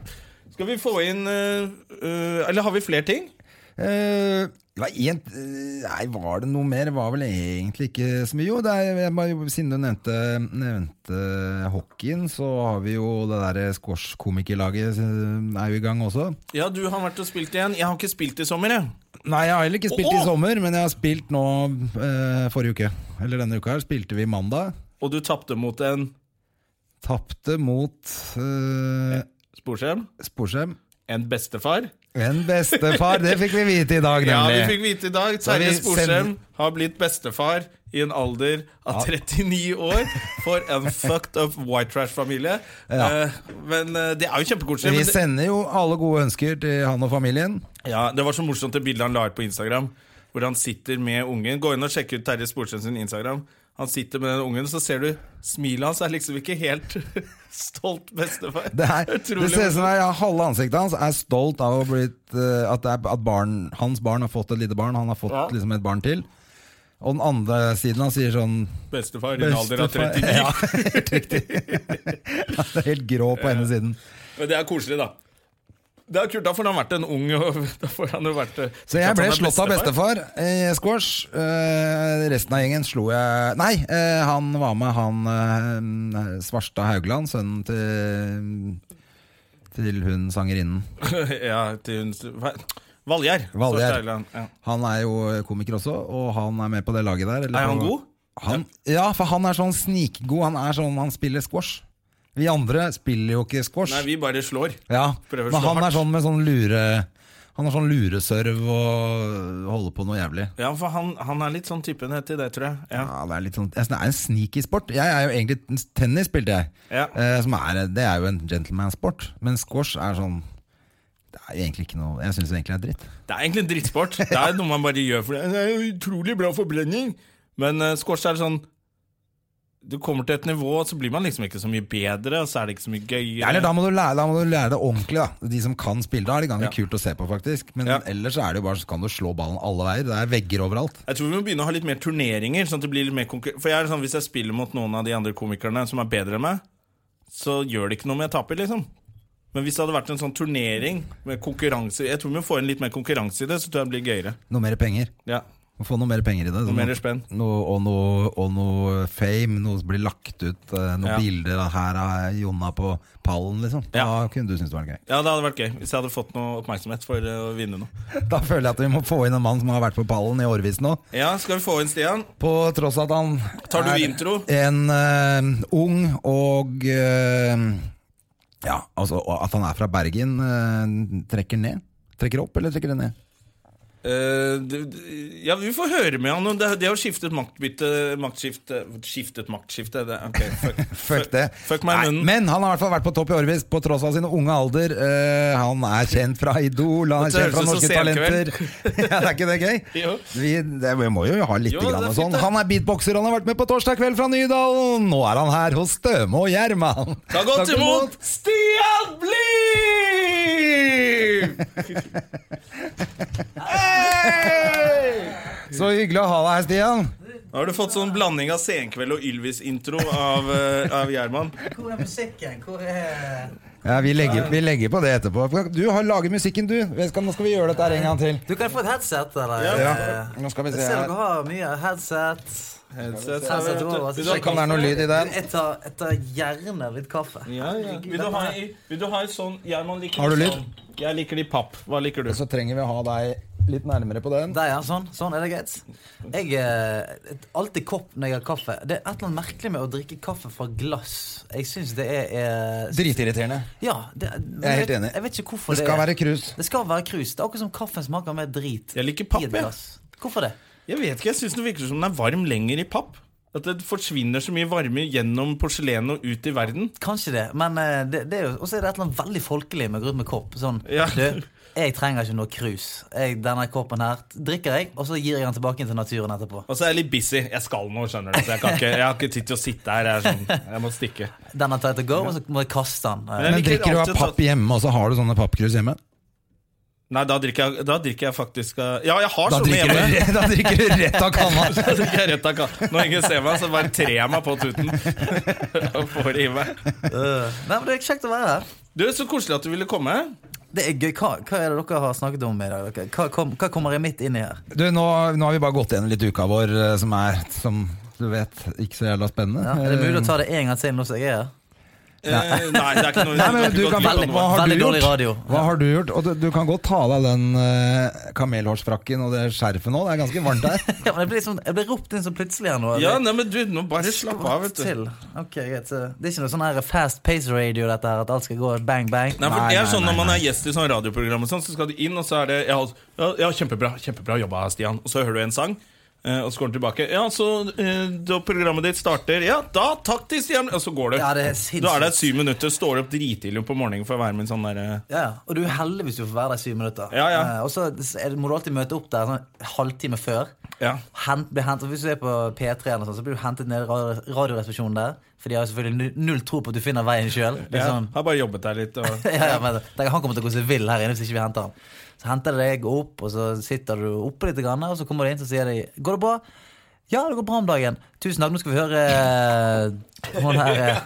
Speaker 1: Skal vi få inn øh, øh, Eller har vi flere ting?
Speaker 2: Eh, det var en, eh, nei, var det noe mer? Det var vel egentlig ikke så mye. Jo, det er, jeg bare- siden du nevnte, nevnte hockeyen, så har vi jo det derre squash-komikerlaget eh, er jo i gang også.
Speaker 1: Ja, du har vært og spilt igjen. Jeg har ikke spilt i sommer, jeg.
Speaker 2: Nei, jeg har heller ikke spilt
Speaker 1: Åh!
Speaker 2: i sommer, men jeg har spilt nå eh, forrige uke. Eller denne uka her, spilte vi mandag.
Speaker 1: Og du tapte mot en
Speaker 2: Tapte mot eh,
Speaker 1: sporskjerm.
Speaker 2: Sporsem.
Speaker 1: En bestefar.
Speaker 2: En bestefar, det fikk vi vite i dag,
Speaker 1: Ja, vi
Speaker 2: nemlig.
Speaker 1: fikk vite i dag.
Speaker 2: Da har vi
Speaker 1: Terje Sporsem
Speaker 2: sendt-
Speaker 1: har blitt bestefar i en alder av 39 år for en fucked up white trash-familie.
Speaker 2: Ja.
Speaker 1: Eh, men eh, det er jo kjempekoselig.
Speaker 2: vi
Speaker 1: men det-
Speaker 2: sender jo alle gode ønsker til han og familien.
Speaker 1: Ja, det var så morsomt det bildet han la ut på Instagram, hvor han sitter med ungen. Gå inn og sjekk ut Terje Sporsem sin Instagram. Han sitter med den ungen, så ser du smilet hans er liksom ikke helt (laughs) stolt bestefar.
Speaker 2: Det, er, det
Speaker 1: (laughs) Utrolig
Speaker 2: ser ut som
Speaker 1: morsomt.
Speaker 2: det er- halve ansiktet hans er stolt av å blitt, eh, at, det er, at barn, hans barn har fått et lite barn. Han har fått
Speaker 1: Ja.
Speaker 2: liksom et barn til. Og den andre siden han sier sånn
Speaker 1: Bestefar i en alder av
Speaker 2: «Bestefar».
Speaker 1: 39.
Speaker 2: (laughs) Ja, helt riktig. (laughs) Han er helt grå på ene siden.
Speaker 1: Men det er koselig, da. Det er kult, Da får han vært en ung (laughs) og da får han jo vært eh,
Speaker 2: Så jeg
Speaker 1: at han
Speaker 2: ble
Speaker 1: er
Speaker 2: slått av bestefar i squash. Eh, resten av gjengen slo jeg Nei, eh, han var med han eh, Svarstad Haugland, sønnen til Til hun sangerinnen.
Speaker 1: (laughs) ja, til hun hva- Valgjerd.
Speaker 2: Valgjerd.
Speaker 1: Svarstad Eiland, Ja.
Speaker 2: Han er jo komiker også, og han er med på det laget der. eller
Speaker 1: Er han
Speaker 2: på-
Speaker 1: god?
Speaker 2: Han, ja, for han er sånn snikgod. Han er sånn, han spiller squash. Vi andre spiller jo ikke squash.
Speaker 1: Nei, vi bare slår.
Speaker 2: ja,
Speaker 1: prøver å
Speaker 2: men
Speaker 1: slå
Speaker 2: han
Speaker 1: hardt.
Speaker 2: er sånn med sånn lure Han har sånn lureserv og holder på noe jævlig.
Speaker 1: Ja, for han, han er litt sånn typen til det, tror jeg. Ja.
Speaker 2: Ja, det er litt sånn jeg synes Det er en sneaky sport. Jeg er jo egentlig Tennis spilte jeg,
Speaker 1: Ja.
Speaker 2: eh, som er, det er jo en gentleman-sport. Men squash er sånn Det er egentlig ikke noe Jeg syns egentlig det er dritt.
Speaker 1: Det er egentlig en (laughs) drittsport. Det er noe man bare gjør for det. Det er jo utrolig bra forbrenning. Men uh, squash er sånn Du kommer til et nivå, og så blir man liksom ikke så mye bedre, og så er det ikke så mye gøyere.
Speaker 2: Ja, eller da må, du lære, da må du lære det ordentlig, da. De som kan spille, da er det ganske
Speaker 1: Ja.
Speaker 2: kult å se på, faktisk. Men
Speaker 1: Ja.
Speaker 2: ellers så er det jo bare så kan du slå ballen alle veier. Det er vegger overalt.
Speaker 1: Jeg tror vi må begynne å ha litt mer turneringer. Sånn at det blir litt mer konkur For jeg er sånn, Hvis jeg spiller mot noen av de andre komikerne som er bedre enn meg, så gjør det ikke noe om jeg taper, liksom. Men hvis det hadde vært en sånn turnering med konkurranse Jeg tror vi må få inn litt mer konkurranse i det, så tror jeg det blir gøyere.
Speaker 2: Noe mer penger.
Speaker 1: Ja,
Speaker 2: Må få noe mer penger i det.
Speaker 1: Noe
Speaker 2: Sånn
Speaker 1: mer spenn.
Speaker 2: Noe, og, noe, og noe fame. Noe som blir lagt ut. eh, Noen
Speaker 1: Ja.
Speaker 2: bilder av her av Jonna på pallen, liksom.
Speaker 1: Ja.
Speaker 2: Da kunne du synes det var gøy.
Speaker 1: ja det hadde vært gøy hvis jeg hadde fått noe oppmerksomhet for eh, å vinne noe.
Speaker 2: Da føler jeg at vi må få inn en mann som har vært på pallen i årevis nå.
Speaker 1: Ja, skal vi få inn Stian?
Speaker 2: På tross av at han
Speaker 1: Tar du
Speaker 2: er
Speaker 1: intro?
Speaker 2: en eh, ung og eh, Ja, altså og at han er fra Bergen, eh, trekker ned? Trekker opp eller trekker det ned?
Speaker 1: Eh, det- det- ja, vi får høre med han. og Det, det har skiftet maktbytte Maktskifte Skiftet maktskifte? Det, ok, fuck,
Speaker 2: (laughs) Fuck det.
Speaker 1: Fuck meg i
Speaker 2: Nei,
Speaker 1: munnen.
Speaker 2: men han har i hvert fall vært på topp i årevis, på tross av sin unge alder. Eh, han er kjent fra Idol, han er
Speaker 1: Dette
Speaker 2: kjent fra
Speaker 1: høres ut
Speaker 2: Norske
Speaker 1: som (laughs)
Speaker 2: Talenter. ja, det er ikke det gøy?
Speaker 1: Jo.
Speaker 2: Vi, det, vi må jo ha litt
Speaker 1: Jo, det er
Speaker 2: grann og
Speaker 1: fint,
Speaker 2: sånn.
Speaker 1: det.
Speaker 2: Han er beatboxer, han har vært med på Torsdag kveld fra Nydalen. Nå er han her hos Støme og Gjerman.
Speaker 1: Ta godt imot Stian (laughs) Bliv!
Speaker 2: Så hyggelig å ha deg her, Stian.
Speaker 1: Nå har du fått sånn blanding av Senkveld og Ylvis-intro av, eh, av Gjerman.
Speaker 3: Hvor er musikken? Hvor er
Speaker 2: Ja, vi legger, vi legger på det etterpå. Du har laget musikken, du. Nå skal nå skal vi gjøre dette her en gang til.
Speaker 3: Du kan få et headset. Eller?
Speaker 2: Ja.
Speaker 3: Eh,
Speaker 2: Nå skal vi
Speaker 3: Jeg
Speaker 2: se
Speaker 3: ser dere
Speaker 2: her.
Speaker 3: har mye headset.
Speaker 1: Headset,
Speaker 3: Headset
Speaker 1: vet du.
Speaker 3: over, altså,
Speaker 1: Vil du ha-
Speaker 3: sjekk.
Speaker 2: Kan det være noe lyd i den?
Speaker 3: Jeg tar, jeg tar gjerne litt kaffe.
Speaker 1: Ja, ja. Vil du ha, i- vil du ha et sånn Gjerman liker
Speaker 2: Har du
Speaker 1: det
Speaker 2: lyd? Altså-
Speaker 1: sånn. Jeg liker det i papp. Hva liker du?
Speaker 2: Så trenger vi å ha deg litt nærmere på den.
Speaker 3: Der, ja. Sånn, sånn er det greit. Jeg eh, alltid kopp når jeg har kaffe. Det er et eller annet merkelig med å drikke kaffe fra glass. Jeg syns det er eh,
Speaker 2: Dritirriterende.
Speaker 3: Ja, det,
Speaker 2: Jeg er helt enig.
Speaker 3: Jeg vet ikke hvorfor
Speaker 2: Det
Speaker 3: det,
Speaker 2: skal
Speaker 3: er.
Speaker 2: være krus.
Speaker 3: det skal være krus. Det er akkurat som kaffen smaker mer drit.
Speaker 1: Jeg liker papp,
Speaker 3: i et
Speaker 1: jeg.
Speaker 3: glass. Hvorfor det?
Speaker 1: Jeg vet ikke, jeg syns det virker som den er varm lenger i papp. At det forsvinner så mye varme gjennom porselenet og ut i verden.
Speaker 3: Kanskje det, men eh, det, det er jo Og så er det et eller annet veldig folkelig med grunn med kopp. Sånn,
Speaker 1: Ja.
Speaker 3: du, jeg trenger ikke noe krus. Jeg, denne koppen her drikker jeg, og så gir jeg den tilbake til naturen etterpå.
Speaker 1: Og så er Altså, jeg litt busy. Jeg skal nå, skjønner du. Så jeg, kan ikke, jeg har ikke tid til å sitte her. Jeg, er sånn, jeg må stikke.
Speaker 3: Den er tight to go, og så må jeg kaste den. eh.
Speaker 1: Jeg
Speaker 2: Men
Speaker 1: liker
Speaker 2: drikker du av
Speaker 1: alltid å ta-
Speaker 2: papp hjemme, og så har du sånne pappkrus hjemme?
Speaker 1: Nei, da drikker jeg, da drikker jeg faktisk eh, Ja, jeg har
Speaker 2: Da
Speaker 1: sånne
Speaker 2: drikker,
Speaker 1: hjemme.
Speaker 2: du, (laughs) da drikker du rett av kanna.
Speaker 1: (laughs)
Speaker 3: (laughs)
Speaker 1: Da drikker jeg rett av ka- Når ingen ser meg, så bare trer jeg meg på tuten (laughs) og får det i meg.
Speaker 3: Øh. Nei, men Det er kjekt å være her.
Speaker 1: Du, så koselig at du ville komme.
Speaker 3: Det er gøy. Hva, hva er det dere har snakket om i dag? dere? Hva, kom, hva kommer jeg midt inn i her?
Speaker 2: Du, nå, nå har vi bare gått gjennom litt uka vår, eh, som er, som du vet, ikke så jævla
Speaker 3: Ja,
Speaker 2: spennende.
Speaker 3: er det mulig å ta det en gang til nå som jeg er her?
Speaker 1: Eh, nei, det er ikke noe
Speaker 2: Nei, men
Speaker 1: har ikke
Speaker 2: du
Speaker 1: gått
Speaker 2: kan,
Speaker 1: glipp av
Speaker 3: veldig-
Speaker 1: noe.
Speaker 2: hva har du
Speaker 3: veldig dårlig radio.
Speaker 2: gjort? Hva har du gjort? Og du, du kan godt ta av deg den eh, kamelhårsfrakken og det skjerfet nå, det er ganske varmt her.
Speaker 3: Ja, men jeg, blir sånn, jeg blir ropt inn så plutselig her nå.
Speaker 1: Ja, nei, men du, nå bare slapp av, vet du.
Speaker 3: Til. Ok, greit. så Det er ikke noe sånn her fast pace radio, dette her, at alt skal gå bang, bang.
Speaker 1: Nei, for
Speaker 2: Nei,
Speaker 1: det er
Speaker 2: nei,
Speaker 1: sånn
Speaker 2: nei,
Speaker 1: Når man er gjest i sånn radioprogram, og sånn, så skal du inn, og så er det Ja, ja, ja kjempebra, kjempebra jobba, Stian. Og så hører du en sang, eh, og så går den tilbake. Ja, så eh, da programmet ditt starter Ja, da takk til Stian! Og så går du.
Speaker 3: Ja, det er sinnssykt.
Speaker 1: da er det syv minutter, står opp dritidlig på morgenen for å være med i en sånn derre
Speaker 3: Ja, ja. og du er heldig hvis du får være der i syv minutter.
Speaker 1: Ja, ja.
Speaker 3: Eh, og så er det- må du alltid møte opp der sånn halvtime før.
Speaker 1: Ja.
Speaker 3: Hent, bli hentet, hvis du er på P3, eller sånn, så blir du hentet ned i radio- radioresepsjonen der. For de har jo selvfølgelig nu- null tro på at du finner veien sjøl.
Speaker 1: ja,
Speaker 3: Sånn,
Speaker 1: Har bare jobbet der litt. Og,
Speaker 3: (laughs) ja, ja, men tenk, han kommer til å gå seg vill her inne hvis ikke vi henter han. Så henter de deg opp, og så sitter du oppe litt, grann, og så kommer de inn og sier de, Går det bra? Ja, det går bra om dagen. Tusen takk. Nå skal vi høre eh,
Speaker 1: (laughs)
Speaker 3: hun her eh,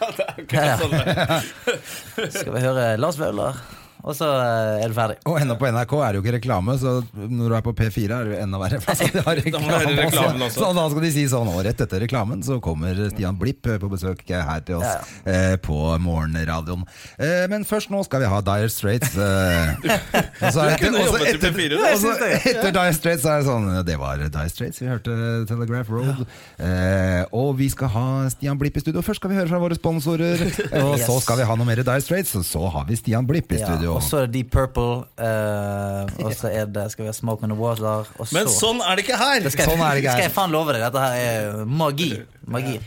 Speaker 3: ja,
Speaker 1: sånn, der.
Speaker 3: (laughs) Skal vi høre Lars Vaular, og så eh, er du ferdig.
Speaker 2: Og ennå på NRK er det jo ikke reklame, så når du er på P4 er det jo enda verre. (laughs) for altså, de har
Speaker 1: høre
Speaker 2: reklame
Speaker 1: reklamen
Speaker 2: også.
Speaker 1: også.
Speaker 2: Så da skal de si sånn, og rett etter reklamen så kommer Stian Blipp eh, på besøk her til oss eh, på morgenradioen. Eh, men først nå skal vi ha Dire Straits.
Speaker 1: (laughs)
Speaker 2: Eh, og så er det-
Speaker 1: kunne
Speaker 2: og så
Speaker 1: jobbet i
Speaker 2: etter-
Speaker 1: P4, du.
Speaker 2: og
Speaker 1: Jeg
Speaker 2: så
Speaker 1: synes det.
Speaker 2: Etter Dire Straits er det sånn, det var Dire Straits, vi hørte Telegraph Road. Eh, og vi skal ha Stian Blipp i studio. Først skal vi høre fra våre
Speaker 3: (laughs)
Speaker 2: sponsorer, og så
Speaker 3: Yes.
Speaker 2: skal vi ha noe mer Dire Straits, og så har vi Stian Blipp i
Speaker 3: Ja,
Speaker 2: studio.
Speaker 3: og så er det Deep Purple, eh, og så er det, skal vi ha Smoke on the Water. Og så,
Speaker 1: Men sånn er det ikke her!
Speaker 3: skal, jeg-
Speaker 2: sånn er det ikke her.
Speaker 3: skal jeg faen love deg, dette her er magi. magi.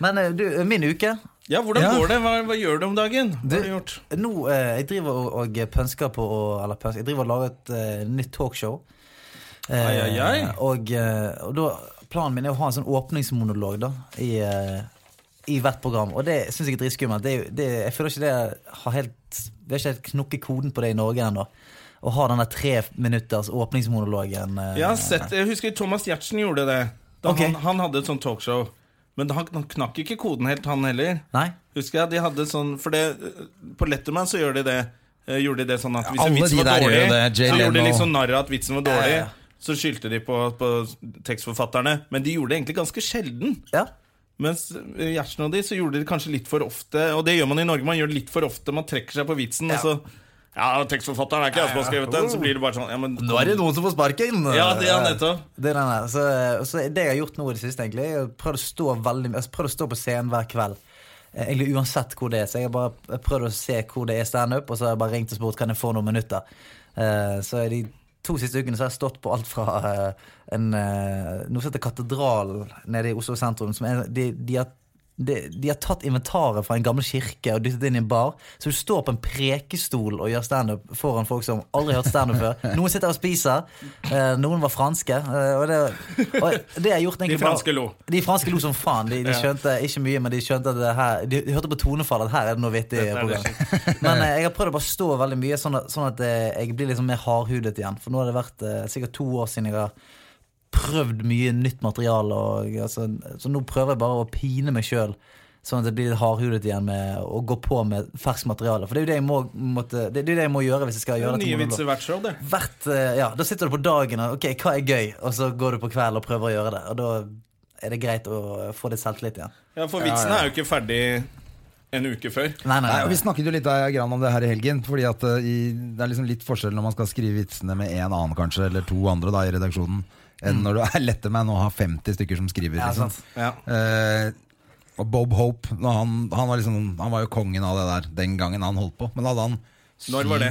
Speaker 3: Men eh, du, min uke
Speaker 1: Ja, Hvordan
Speaker 2: Ja.
Speaker 1: går det? Hva, hva gjør du om dagen? Hva har du gjort?
Speaker 3: Nå, eh, Jeg driver og, og pønsker på å, Eller pønsker, jeg driver og lager et eh, nytt talkshow. Eh,
Speaker 1: Ai, ai, ai.
Speaker 3: Og, eh, og da, planen min er å ha en sånn åpningsmonolog da i, eh, i hvert program. Og det syns jeg er dritskummelt. Det, er jo- det, jeg føler ikke det har helt Vi har ikke helt knukket koden på det i Norge ennå. Å ha den der tre minutters åpningsmonologen. eh.
Speaker 1: Jeg, har sett, jeg husker Thomas Giertsen gjorde det. Da
Speaker 3: Ok.
Speaker 1: han, han hadde et sånt talkshow. Men han, han knakk ikke koden helt, han heller.
Speaker 3: Nei?
Speaker 1: Husker jeg, de hadde sånn For det, på Letterman så gjør de det. eh, Gjorde de det sånn at hvis en
Speaker 2: alle
Speaker 1: vits
Speaker 2: de
Speaker 1: var
Speaker 2: der
Speaker 1: dårlig,
Speaker 2: gjør det, Jay
Speaker 1: så gjorde de
Speaker 2: Leno.
Speaker 1: liksom narr av at vitsen var dårlig.
Speaker 3: Ja, ja, ja.
Speaker 1: Så skyldte de på, på tekstforfatterne. Men de gjorde det egentlig ganske sjelden.
Speaker 3: Ja?
Speaker 1: Mens eh, Gjertsen og de så gjorde de det kanskje litt for ofte. Og det gjør man i Norge. Man gjør det litt for ofte. Man trekker seg på vitsen, og så Ja, tekstforfatteren er ikke jeg som har skrevet den. Så blir det bare sånn ja, men,
Speaker 3: noen som får sparken!
Speaker 1: Ja, det er nettopp.
Speaker 3: Det er den der. Så, så det jeg har gjort nå i det siste, egentlig, er å prøve å stå, veldig, altså, prøve å stå på scenen hver kveld. Eh, Egentlig uansett hvor det er. Så jeg har bare prøvd å se hvor det er standup, og så har jeg bare ringt og spurt kan jeg få noen minutter. Eh, Så de to siste ukene så har jeg stått på alt fra eh, en, eh, noe som heter Katedralen nede i Oslo sentrum. Som er, de, de, har, de, de har tatt inventaret fra en gammel kirke og dyttet det inn i en bar. Så du står på en prekestol og gjør standup foran folk som aldri har hørt standup før. Noen sitter og spiser. eh, noen var franske. eh, og det, og det har jeg gjort egentlig
Speaker 1: De franske lo.
Speaker 3: De franske lo som faen. De, de
Speaker 1: Ja.
Speaker 3: skjønte ikke mye, men de skjønte at det her De hørte på tonefallet at her er det noe vittig.
Speaker 1: Dette er det
Speaker 3: program. (laughs) Men eh, jeg har prøvd å bare stå veldig mye, sånn at, sånn at eh, jeg blir liksom mer hardhudet igjen. For nå har det vært eh, sikkert to år siden jeg har prøvd mye nytt materiale. Og, altså, så nå prøver jeg bare å pine meg sjøl, sånn at jeg blir litt hardhudet igjen med å gå på med ferskt materiale. For det er jo det jeg må, måtte, det, er jo det jeg må gjøre hvis jeg skal
Speaker 1: Det
Speaker 3: gjøre
Speaker 1: er nye
Speaker 3: dette. monolog.
Speaker 1: vitser hvert show, det.
Speaker 3: Hvert, eh, ja, Da sitter du på dagen og ok, hva er gøy, og så går du på kvelden og prøver å gjøre det. Og da er det greit å få litt selvtillit igjen.
Speaker 1: Ja, For vitsen er jo ikke ferdig en uke før.
Speaker 3: Nei, nei,
Speaker 2: Nei, og
Speaker 3: nei.
Speaker 2: Vi snakket jo litt eh, grann om det her i helgen. Fordi at eh, i, Det er liksom litt forskjell når man skal skrive vitsene med en annen kanskje Eller to andre da i redaksjonen, enn når du er letterman og har 50 stykker som skriver.
Speaker 3: Mm. Ja,
Speaker 2: Liksom.
Speaker 3: sant.
Speaker 1: Ja.
Speaker 2: Eh, og Bob Hope når han, han, var liksom, han var jo kongen av det der den gangen han holdt på. Men da hadde han
Speaker 1: Når var det?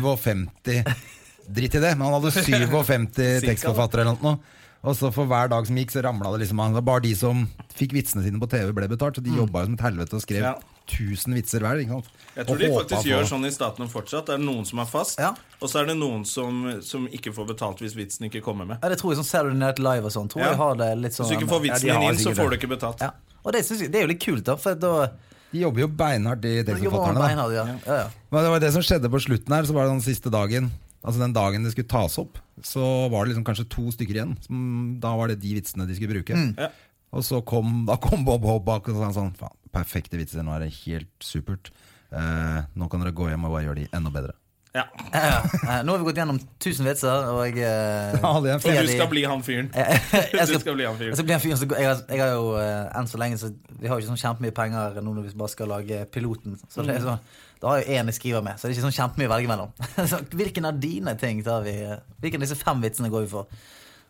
Speaker 2: 57 Drit i det, men han hadde
Speaker 1: (laughs)
Speaker 2: 57 tekstforfattere eller noe. Og så for hver dag som gikk, så ramla det liksom han- det var Bare de som fikk vitsene sine på TV, ble betalt. Så de jobba jo som et helvete og skrev
Speaker 1: Mm. Ja.
Speaker 2: 1000 vitser hver. Ikke sant?
Speaker 1: Jeg tror
Speaker 2: Og
Speaker 1: de
Speaker 2: håpa
Speaker 1: faktisk
Speaker 2: på-
Speaker 1: gjør sånn i statene fortsatt. Det er noen som er fast,
Speaker 3: Ja.
Speaker 1: og så er det noen som, som ikke får betalt hvis vitsen ikke kommer med.
Speaker 3: Ja, det tror jeg sånn Saturday Night Live og sånn. Tror
Speaker 1: Ja.
Speaker 3: jeg har det litt sånn
Speaker 1: Hvis du ikke får
Speaker 3: ja,
Speaker 1: vitsen
Speaker 3: de har
Speaker 1: din inn, så
Speaker 3: sikkert
Speaker 1: får du
Speaker 3: det.
Speaker 1: ikke betalt.
Speaker 3: ja. Og det, synes jeg, det er jo litt kult, da. For da
Speaker 1: sånn-
Speaker 2: De jobber jo beinhardt, de
Speaker 3: da jobber man
Speaker 2: tekstforfatterne. da.
Speaker 3: beinhardt. Ja. Ja, ja.
Speaker 2: Men det var det som skjedde på slutten her, så var det den siste dagen. Altså den dagen det skulle tas opp, så var det liksom kanskje to stykker igjen. Som, da var det de vitsene de skulle bruke.
Speaker 1: Ja.
Speaker 2: Og så kom, da kom Bob Hope bak og sa sånn Faen, perfekte vitser, nå er det helt supert. Eh, nå kan dere gå hjem og bare gjøre de enda bedre.
Speaker 1: Ja.
Speaker 3: Ja, ja. Eh, Nå har vi gått gjennom 1000 vitser, og eh,
Speaker 2: Da hadde jeg en
Speaker 1: Og
Speaker 2: fin-
Speaker 1: du skal bli han fyren.
Speaker 3: jeg, (laughs) jeg,
Speaker 1: Du skal bli han fyren.
Speaker 3: jeg skal bli han fyren som går- jeg, har- jeg har jo eh, enn så lenge så Vi har jo ikke sånn kjempemye penger nå når vi bare skal lage piloten. Så det er
Speaker 1: Mm.
Speaker 3: sånn, Da har jeg jo én jeg skriver med, så det er ikke sånn kjempemye å velge mellom. (laughs) så, hvilken av dine ting tar vi eh, Hvilken av disse fem vitsene går vi for?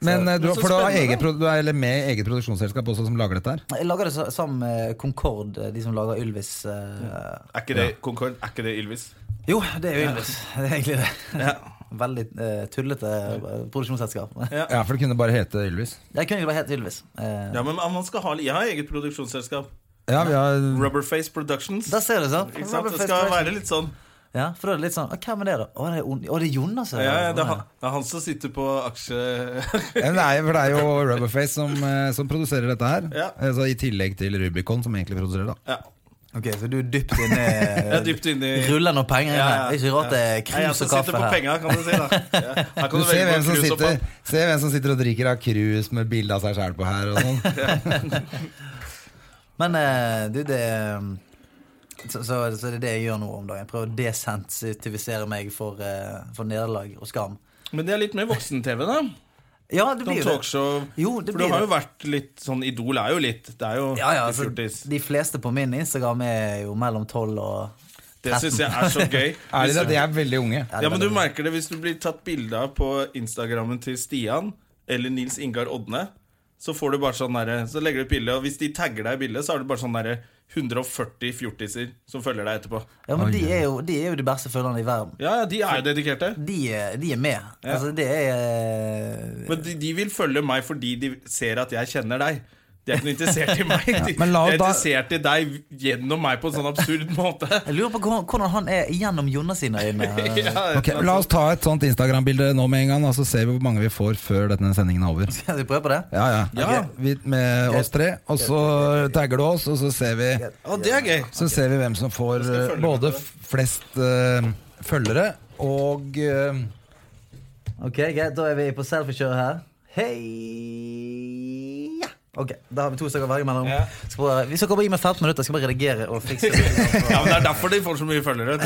Speaker 2: Men eh, du,
Speaker 1: så
Speaker 2: for du, har
Speaker 1: spennende,
Speaker 2: eget, pro- du er eller med i eget produksjonsselskap også som lager dette her?
Speaker 3: Jeg lager det sa- sammen med Concorde, eh, de som lager Ylvis. eh,
Speaker 1: Er ikke det Concord? Er ikke det Ylvis?
Speaker 3: Jo, det er jo Ylvis. (laughs) Det er egentlig det.
Speaker 1: Ja.
Speaker 3: (laughs) Veldig eh, tullete eh, produksjonsselskap.
Speaker 1: Ja.
Speaker 2: Ja, for det kunne bare hete Ylvis.
Speaker 3: Jeg kunne ikke vært helt Ylvis. Eh,
Speaker 1: Ja, men man skal ha, Jeg har eget produksjonsselskap.
Speaker 2: Ja, vi har
Speaker 1: Rubberface Productions.
Speaker 3: Der ser du, sant?
Speaker 1: Ikke sant? Det
Speaker 3: Rubberface
Speaker 1: skal
Speaker 3: Production.
Speaker 1: være litt sånn.
Speaker 3: Ja, for da er det litt sånn «Å, Hvem er det, da? Å, det er, On- å, det er Sånn Jonas.
Speaker 1: Ja, ja, det er han- det er han som sitter på aksje... (laughs)
Speaker 2: Ja, men det er, jo- for det er jo Rubberface som, eh, som produserer dette her.
Speaker 1: Ja.
Speaker 2: Eh, Så I tillegg til Rubicon, som egentlig produserer det.
Speaker 1: Ja.
Speaker 3: Ok, Så du er dypt
Speaker 1: (laughs) Jeg er
Speaker 3: inne
Speaker 1: dypt inne i
Speaker 3: (laughs) Ruller noen penger inn her. Det er ikke rart det er
Speaker 1: Nei, jeg
Speaker 3: krus
Speaker 1: som
Speaker 3: og
Speaker 1: sitter
Speaker 3: kaffe
Speaker 1: på
Speaker 3: her.
Speaker 1: penga, kan du si.
Speaker 3: (laughs)
Speaker 1: da ja. Her kan
Speaker 2: Du
Speaker 1: du,
Speaker 2: ser
Speaker 1: velge
Speaker 2: hvem,
Speaker 1: mellom
Speaker 2: som
Speaker 1: krus og
Speaker 2: sitter,
Speaker 1: papp.
Speaker 2: se hvem som sitter og drikker av krus med bilde av seg sjæl på her. Og sånn.
Speaker 3: Men eh, du, det eh, så, så, så det er det jeg gjør nå om dagen. Jeg prøver å desensitivisere meg for, eh, for nederlag og skam.
Speaker 1: Men det er litt mer voksen-TV, da.
Speaker 3: Ja,
Speaker 1: Sånn
Speaker 3: det blir jo det.
Speaker 1: talkshow.
Speaker 3: Jo, det
Speaker 1: For
Speaker 3: blir
Speaker 1: du har
Speaker 3: det.
Speaker 1: jo vært litt sånn Idol er jo litt Det er jo
Speaker 3: Ja, ja,
Speaker 1: litt
Speaker 3: altså,
Speaker 1: fjortis.
Speaker 3: de fleste på min Instagram er jo mellom 12 og
Speaker 1: Det syns jeg (laughs) er så
Speaker 3: (laughs)
Speaker 1: gøy.
Speaker 2: Ærlig, det, de er veldig unge.
Speaker 1: Ja, men du merker det hvis du blir tatt bilde av på Instagrammen til Stian eller Nils Ingar Odne. Så får du bare sånn derre- Så legger du et bilde, og hvis de tagger deg i bildet, så har du bare sånn derre 140 fjortiser som følger deg etterpå.
Speaker 3: Ja, men de er jo de, er jo de beste følgerne i verden.
Speaker 1: Ja, ja, de er jo dedikerte.
Speaker 3: De, er- de er med. Altså, det er eh,
Speaker 1: Men de, de vil følge meg fordi de ser at jeg kjenner deg. De er ikke noe interessert i
Speaker 2: (laughs)
Speaker 1: meg. De,
Speaker 2: men la
Speaker 1: de er
Speaker 2: da-
Speaker 1: interessert i deg gjennom meg på en sånn absurd (laughs)
Speaker 2: (laughs)
Speaker 1: måte.
Speaker 3: Jeg lurer på hvordan hvordan han er gjennom Jonas sine øyne.
Speaker 1: Ja, altså.
Speaker 2: Ok, La oss ta et sånt Instagram-bilde nå med en gang, og så ser vi hvor mange vi får før denne sendingen er over.
Speaker 3: Skal vi prøve på det?
Speaker 2: Ja, ja,
Speaker 1: Ja.
Speaker 2: Vi, Med oss tre, og så tagger du oss, og så ser vi,
Speaker 1: Å, det er gøy.
Speaker 2: så ser vi hvem som får
Speaker 1: skal jeg følge
Speaker 2: eh,
Speaker 1: med
Speaker 2: både
Speaker 1: på det.
Speaker 2: f- flest eh, følgere og eh,
Speaker 3: Ok, greit, Da er vi på selfiekjøret her. Hei ja. Ok, Da har vi to stykker å velge mellom.
Speaker 1: Ja.
Speaker 3: Skal bare, vi skal komme i med 15 minutter. Jeg Skal bare redigere og fikse det.
Speaker 1: Ja, men Det er derfor de får så mye følgere. vet du.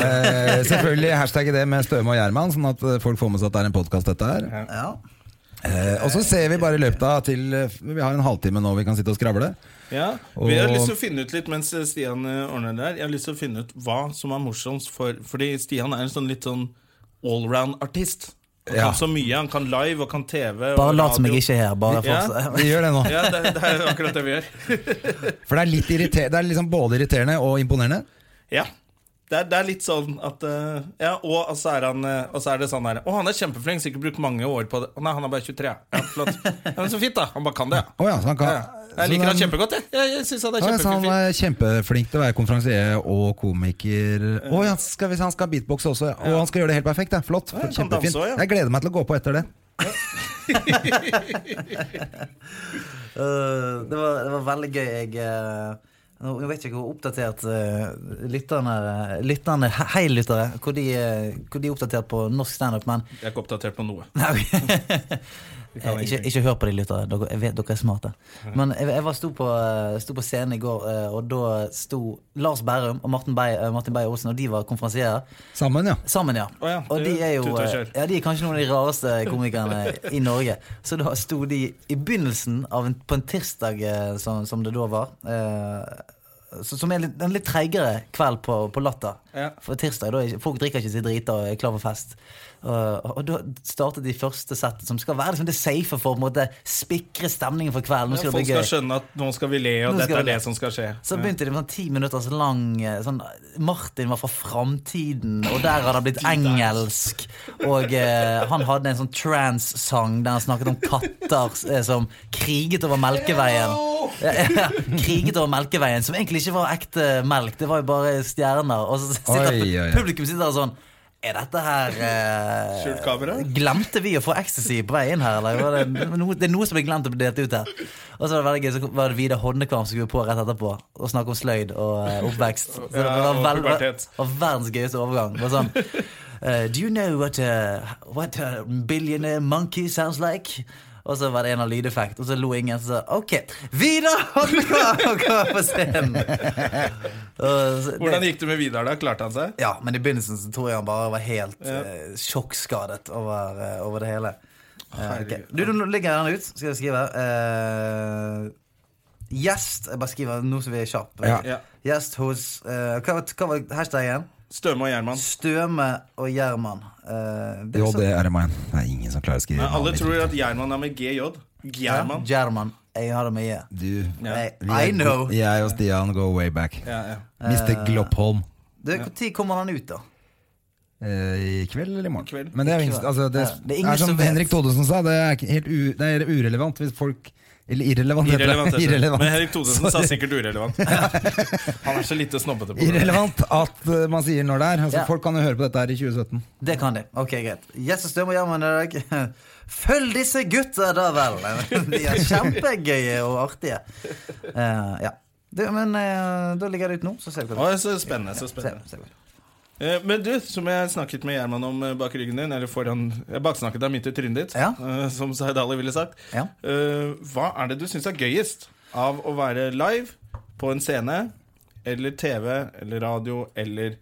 Speaker 2: eh, Selvfølgelig hashtagge det med Støme og Gjerman, sånn at eh, folk får med seg at det er en podkast, dette her.
Speaker 3: Ja.
Speaker 2: Eh, og så ser vi bare i løpet av til eh, Vi har en halvtime nå vi kan sitte og skravle.
Speaker 1: Ja. Vi har lyst til å finne ut litt mens Stian eh, ordner det her. Jeg har lyst til å finne ut hva som er morsomst, for, fordi Stian er en sånn litt sånn allround-artist. Han
Speaker 2: Ja.
Speaker 1: kan så mye. Han kan live og kan TV. og
Speaker 3: Bare lat som
Speaker 1: radio.
Speaker 3: jeg ikke er her. Bare
Speaker 1: Ja.
Speaker 3: fortsett.
Speaker 2: Vi gjør det nå.
Speaker 1: Ja, det, det er akkurat det vi gjør.
Speaker 2: For det er litt irriterende Det er liksom både irriterende og imponerende.
Speaker 1: Ja. Det er, det er litt sånn at eh, Ja, og og så er, han, eh, og så er det sånn her Å, han er kjempeflink, sikkert brukt mange år på det. Å nei, han er bare 23. Ja, flott. Ja, men så fint, da. Han bare kan det, ja.
Speaker 2: Å ja, så han kan
Speaker 1: ja. Jeg liker han kjempegodt, jeg. Jeg, jeg syns han er
Speaker 2: Ja, så han
Speaker 1: kjempeflink.
Speaker 2: er kjempeflink til å være konferansier og komiker. Å ja, skal, hvis han skal beatboxe også. Og han skal gjøre det helt perfekt. Ja. Flott.
Speaker 1: Ja, han kan
Speaker 2: Kjempefint.
Speaker 1: danse også, ja.
Speaker 2: Jeg gleder meg til å gå på etter det.
Speaker 3: (laughs) Eh, det, var, det var veldig gøy. Jeg, eh, nå nå vet jeg ikke hvor oppdatert eh, lytterne, lytterne Hei, lyttere. Hvor de, eh, hvor de er oppdatert på norsk standup, men
Speaker 1: Jeg er ikke oppdatert på noe.
Speaker 3: Nei, ok. Eh, ikke, ikke hør på de lyttere. Dere, jeg vet, dere er smarte. Men jeg, jeg var sto på, eh, sto på scenen i går, eh, og da sto Lars Berrum og Martin Beyer-Olsen, Martin Beyer Olsen, og de var konferansierer.
Speaker 2: Sammen, ja.
Speaker 3: Sammen, ja.
Speaker 1: Å ja,
Speaker 3: og
Speaker 1: det
Speaker 3: de
Speaker 1: er
Speaker 3: er
Speaker 1: tut
Speaker 3: jo
Speaker 1: og
Speaker 3: eh,
Speaker 1: kjør.
Speaker 3: ja, de er kanskje noen av de rareste komikerne i Norge. Så da sto de i begynnelsen av en, på en tirsdag, eh, som, som det da var eh, så, Som er litt, en litt treigere kveld på, på Latter.
Speaker 1: Ja.
Speaker 3: For tirsdag, da er, ikke- Folk drikker ikke seg drita og er klar for fest. Og, og da startet de første settet, som skal være liksom det safe for å på en måte spikre stemningen for kvelden. Nå skal det bli
Speaker 1: Folk skal
Speaker 3: gøy.
Speaker 1: skjønne at nå skal vi le, og
Speaker 3: Nå
Speaker 1: dette
Speaker 3: skal
Speaker 1: er
Speaker 3: vi le.
Speaker 1: det som skal skje. «Mm.
Speaker 3: Så
Speaker 1: Ja.
Speaker 3: begynte de med sånn ti minutters lang eh, sånn, Martin var fra framtiden, og der hadde han blitt engelsk. Og eh, han hadde en sånn trans-sang der han snakket om katter eh, som kriget over Melkeveien. Ja, ja, (laughs) kriget over Melkeveien, som egentlig ikke var ekte melk, det var jo bare stjerner. Og så sitter
Speaker 2: Oi, oi, oi.
Speaker 3: publikum sitter der sånn er dette her eh,
Speaker 1: Skjult kamera?
Speaker 3: Glemte vi å få ecstasy på vei inn her? Eller? Var det, noe, det er noe som ble glemt å bli delt ut her. Og så var det veldig gøy, så var det Vidar Hodnekvam som skulle på rett etterpå og snakke om sløyd og eh, oppvekst. Så det
Speaker 1: Ja,
Speaker 3: var,
Speaker 1: og
Speaker 3: vel, var,
Speaker 1: pubertet.
Speaker 3: var verdens gøyeste overgang. Det var sånn eh, Do you know what, a, what a billionaire monkey sounds like? Og så var det en av lydeffekt, og så lo ingen. Så sa OK, Vidar Hodnekvam kom på scenen! (laughs) Og så-
Speaker 1: Hvordan gikk det med Vidar, da? Klarte han seg?
Speaker 3: ja, men i begynnelsen så tror jeg han bare var helt eh, sjokkskadet over, eh, over det hele. Eh, ok. Du, du, nå legger jeg den ut, skal jeg skrive. Eh, Gjest Jeg bare skriver nå som vi er kjappe.
Speaker 2: Ja.
Speaker 1: Ja.
Speaker 3: Gjest hos eh, hva, var- hva var hashtaggen?
Speaker 1: Støme og Gjerman.
Speaker 3: Støme og Gjerman. Eh, det er
Speaker 2: Jo,
Speaker 3: sånn-
Speaker 2: det er det meg. Det er ingen som klarer å skrive
Speaker 1: Nei, alle
Speaker 2: navnet mitt.
Speaker 1: tror at Gjerman er med GJ. Gjerman.
Speaker 3: Gjerman. Jeg har det med J.
Speaker 2: Du,
Speaker 1: Ja.
Speaker 3: Jeg-
Speaker 2: vi er
Speaker 3: I know.
Speaker 2: go- Jeg og Stian go way back.
Speaker 1: Ja, Eh. ja.
Speaker 2: Mr. Gloppholm.
Speaker 3: Du, Når kommer han ut, da?
Speaker 2: Eh, I kveld eller i morgen.
Speaker 1: kveld.
Speaker 2: Men det er, jo ingen-
Speaker 3: kveld.
Speaker 2: altså, det,
Speaker 3: Ja, det er ingen
Speaker 2: er som
Speaker 3: som vet.
Speaker 2: Henrik Thodesen sa, det er, ikke helt u, det er urelevant hvis folk Eller irrelevant, heter det.
Speaker 1: Irrelevant. heter det.
Speaker 2: Irrelevant.
Speaker 1: Men Henrik Thodesen sa
Speaker 2: Sorry.
Speaker 1: sikkert urelevant.
Speaker 3: (laughs)
Speaker 1: Han er så lite snobbete på det.
Speaker 2: Irrelevant at eh, man sier når det er. Altså,
Speaker 3: Ja.
Speaker 2: Folk kan jo høre på dette her i 2017.
Speaker 3: Det kan de. Ok, greit. Gjest og Støme og Gjerman i dag. (laughs) Følg disse gutta, da vel! (laughs) De er kjempegøye og artige. Eh, ja. Du, men eh, da ligger det ut nå, så ser vi hva
Speaker 1: Å, så spennende, så
Speaker 3: det
Speaker 1: spennende.
Speaker 3: blir.
Speaker 1: Eh, Men du, som jeg snakket med Gjerman om eh, bak ryggen din, eller foran Jeg baksnakket deg midt i trynet ditt,
Speaker 3: Ja.
Speaker 1: eh, som Zaid Ali ville sagt.
Speaker 3: Ja.
Speaker 1: Eh, Hva er det du syns er gøyest av å være live på en scene, eller TV, eller radio, eller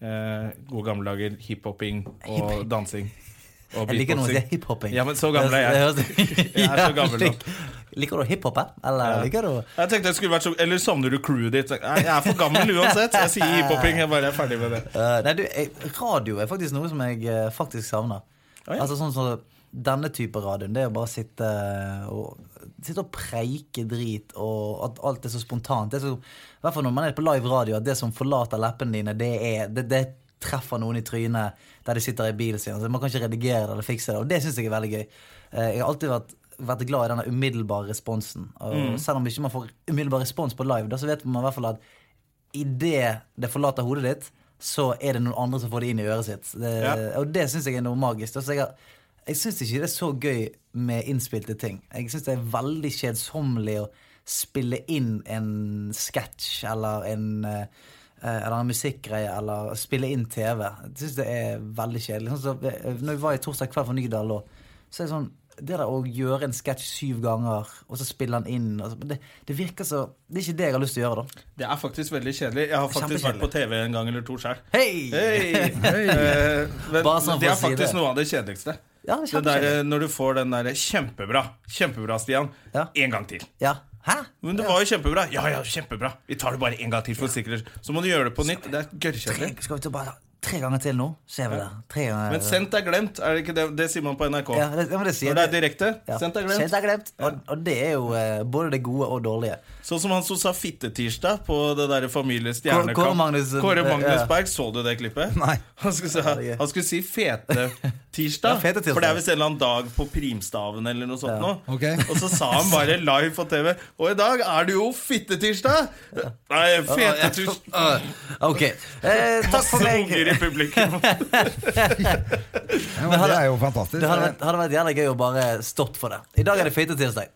Speaker 1: eh, gode gamle dager hiphoping og dansing? Og
Speaker 3: Jeg liker noen som sier
Speaker 1: beatboxing?
Speaker 3: hiphopping.
Speaker 1: Ja, men så gammel er jeg.
Speaker 3: (laughs)
Speaker 1: Jeg er så gammel nå.
Speaker 3: Liker du hiphop, eh? eller
Speaker 1: Ja.
Speaker 3: liker du
Speaker 1: Jeg tenkte jeg skulle vært så Eller savner du crewet ditt? Nei, Jeg er for gammel uansett. Jeg sier hiphoping. Jeg bare er ferdig med det.
Speaker 3: Eh, Nei, du, jeg, radio er faktisk noe som jeg eh, faktisk savner.
Speaker 1: Å, ja.
Speaker 3: Altså sånn som denne type radioen. Det er å bare sitte eh, og, sitte og preike drit, og at alt er så spontant. Det er så, I hvert fall når man er på live radio, at det som forlater leppene dine, det, er, det, det treffer noen i trynet der de sitter i bilen sin. Altså, man kan ikke redigere det eller fikse det, og det syns jeg er veldig gøy. Eh, Jeg har alltid vært vært glad i denne umiddelbare responsen. Og
Speaker 1: Mm.
Speaker 3: Selv om ikke man får umiddelbar respons på live, da, så vet man i hvert fall at idet det forlater hodet ditt, så er det noen andre som får det inn i øret sitt. Det,
Speaker 1: Ja.
Speaker 3: Og det syns jeg er noe magisk. Altså, jeg har- jeg syns ikke det er så gøy med innspilte ting. Jeg syns det er veldig kjedsommelig å spille inn en sketsj eller en eh, eller en musikkgreie, eller spille inn TV. Jeg syns det er veldig kjedelig. Sånn som, eh, når vi var i Torsdag kveld for Nydal, og så er det sånn det der å gjøre en sketsj syv ganger, og så spille den inn altså, det, det virker så Det er ikke det jeg har lyst til å gjøre, da.
Speaker 1: Det er faktisk veldig kjedelig. Jeg har faktisk vært på TV en gang eller to sjøl.
Speaker 3: (laughs) Hei!
Speaker 1: Men
Speaker 3: Bare sånn for
Speaker 1: det er
Speaker 3: å si det.
Speaker 1: faktisk noe av det kjedeligste.
Speaker 3: Ja, det er
Speaker 1: det der,
Speaker 3: kjempekjedelig.
Speaker 1: eh, når du får den derre 'kjempebra', 'kjempebra, Stian',
Speaker 3: Ja.
Speaker 1: en gang til.
Speaker 3: Ja. Hæ?
Speaker 1: Men det var jo kjempebra. Ja, ja, kjempebra. Vi tar det bare en gang til for sikkerhet. Så må du gjøre det på nytt. Det er gørrkjedelig.
Speaker 3: Skal vi til å bare Tre ganger til nå, så er vi der. Tre ganger
Speaker 1: Men sendt er glemt, er det ikke det? Det sier man på NRK.
Speaker 3: ja, det, ja, men det sier
Speaker 1: Når det er direkte.
Speaker 3: Ja.
Speaker 1: Sendt er
Speaker 3: Sendt
Speaker 1: glemt.
Speaker 3: er glemt. Og, og det er jo eh, både det gode og dårlige.
Speaker 1: Sånn som han som sa fittetirsdag på det derre
Speaker 3: Kåre-
Speaker 1: familiestjernekamp.
Speaker 3: Kåre Magnus-
Speaker 1: Kåre Magnus
Speaker 3: ja.
Speaker 1: Berg, så du det
Speaker 3: (laughs)
Speaker 1: klippet?
Speaker 2: Nei.
Speaker 1: Han skulle,
Speaker 3: det
Speaker 1: si-
Speaker 3: er gøy.
Speaker 1: han skulle si
Speaker 3: (laughs) Ja,
Speaker 1: fetetirsdag,
Speaker 3: fetetirsdag.
Speaker 1: for det er visst en eller annen dag på primstaven eller noe sånt. nå.
Speaker 2: Ok.
Speaker 1: (laughs) Og så sa han bare live på TV Og i dag er det jo fittetirsdag! Nei,
Speaker 3: (laughs)
Speaker 1: fetetirsdag
Speaker 3: Ah. Ok. Eh, takk for
Speaker 1: Masse
Speaker 3: meg.
Speaker 1: unger i publikum. (laughs)
Speaker 2: Ja, men det er jo fantastisk.
Speaker 3: Det hadde vært, hadde vært jævlig gøy å bare stått for det. I dag er det feitetirsdag.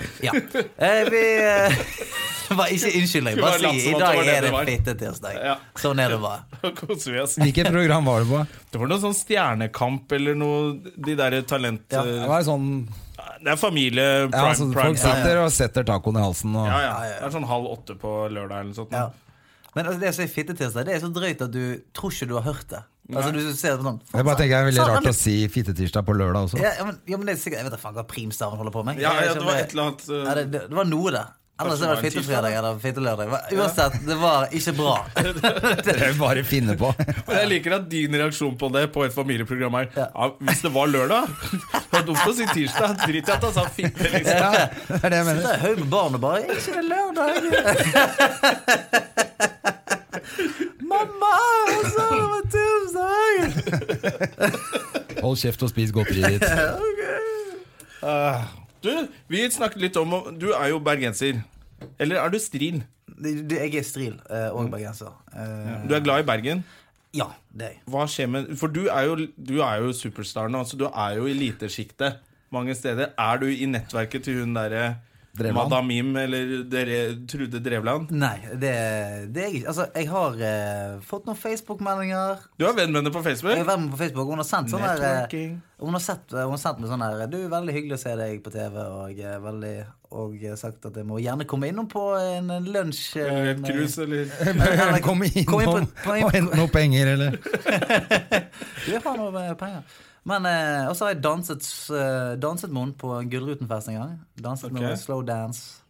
Speaker 1: (laughs)
Speaker 3: Ja. Eh, vi eh, (laughs) var ikke Unnskyld deg.
Speaker 1: Skulle
Speaker 3: Bare
Speaker 1: bare late
Speaker 3: si
Speaker 1: som
Speaker 3: i
Speaker 1: at det
Speaker 3: dag
Speaker 1: var det det
Speaker 3: er det
Speaker 1: var.
Speaker 3: feitetirsdag.
Speaker 1: Ja.
Speaker 3: Sånn er det bare.
Speaker 1: Nå koser vi oss.
Speaker 2: Hvilket program var det på?
Speaker 1: Det var noe sånn stjernekamp eller noe De derre talent...
Speaker 3: Ja.
Speaker 2: Det
Speaker 1: eh,
Speaker 2: var sånn
Speaker 1: Det er familie prime,
Speaker 2: ja, altså,
Speaker 1: prime
Speaker 2: Folk
Speaker 1: time.
Speaker 2: sitter og setter tacoen i halsen. Og,
Speaker 1: Ja, ja. Det er sånn halv åtte på lørdag eller noe sånt.
Speaker 3: Ja. Men altså, det å si fittetirsdag, det er så drøyt at du tror ikke du har hørt det. Altså, du ser det på sånn
Speaker 2: Jeg bare tenker det er veldig
Speaker 3: Sa-
Speaker 2: rart å si fittetirsdag på lørdag også.
Speaker 3: ja, ja, men, ja, men det er sikkert Jeg vet da faen hva primstaven holder på med.
Speaker 1: Ja,
Speaker 3: Jeg
Speaker 1: ja,
Speaker 3: vet ikke
Speaker 1: det
Speaker 3: om
Speaker 1: var et eller annet
Speaker 3: Ja, det,
Speaker 1: eh,
Speaker 3: det, det var noe, det. Ellers
Speaker 1: Kanskje det
Speaker 3: var det
Speaker 1: var en
Speaker 3: fittefredag eller fittelørdag. Hva- Uansett, det var ikke bra.
Speaker 1: (laughs)
Speaker 2: Jeg (laughs) bare finner på.
Speaker 1: Men Jeg liker at din reaksjon på det på et familieprogram er ja. Hvis det var lørdag Det var dumt å si tirsdag. Drit i at han sa fitte. Liksom.
Speaker 2: Ja, (laughs) det er det jeg
Speaker 3: Det
Speaker 2: mener.
Speaker 3: er høy med barn og bare 'Er ikke det
Speaker 1: (laughs)
Speaker 3: lørdag?' Mamma, hun sa det var tirsdag!
Speaker 2: Hold kjeft og spis godteriet ditt.
Speaker 1: Ah. Du, vi snakket litt om Du er jo bergenser. Eller er du stril?
Speaker 3: Du- du, Jeg er stril eh, og bergenser. Eh,
Speaker 1: Du er glad i Bergen.
Speaker 3: Ja, det er jeg.
Speaker 1: Hva skjer med For du er jo, du er jo superstar nå. Så du er jo i elitesjiktet mange steder. Er du i nettverket til hun derre
Speaker 2: Drevland?
Speaker 1: Madam Im eller dere, Trude Drevland?
Speaker 3: Nei, det, det er jeg ikke. Altså, jeg har eh, fått noen Facebook-meldinger.
Speaker 1: Du er venn med henne på
Speaker 3: Jeg har
Speaker 1: Facebook?
Speaker 3: vært med på Facebook, og hun har sendt sånn der eh,
Speaker 1: Networking.
Speaker 3: Hun har, sett, hun har sendt meg sånn her Du, veldig hyggelig å se deg på TV, og, eh, veldig, og eh, sagt at jeg må gjerne komme innom på en en lunsj. eh,
Speaker 1: Eller
Speaker 3: en, eh,
Speaker 1: Cruise, eller
Speaker 3: (laughs) eller-
Speaker 2: Kom
Speaker 3: kom
Speaker 2: innom
Speaker 3: inn på- kom inn-
Speaker 2: og hent noe penger, eller
Speaker 3: Du jeg har noe eh, penger. Men, eh, og så har jeg danset, eh, danset med henne på Gullruten-fest en gang. Danset
Speaker 1: Ok.
Speaker 3: med noe slow dance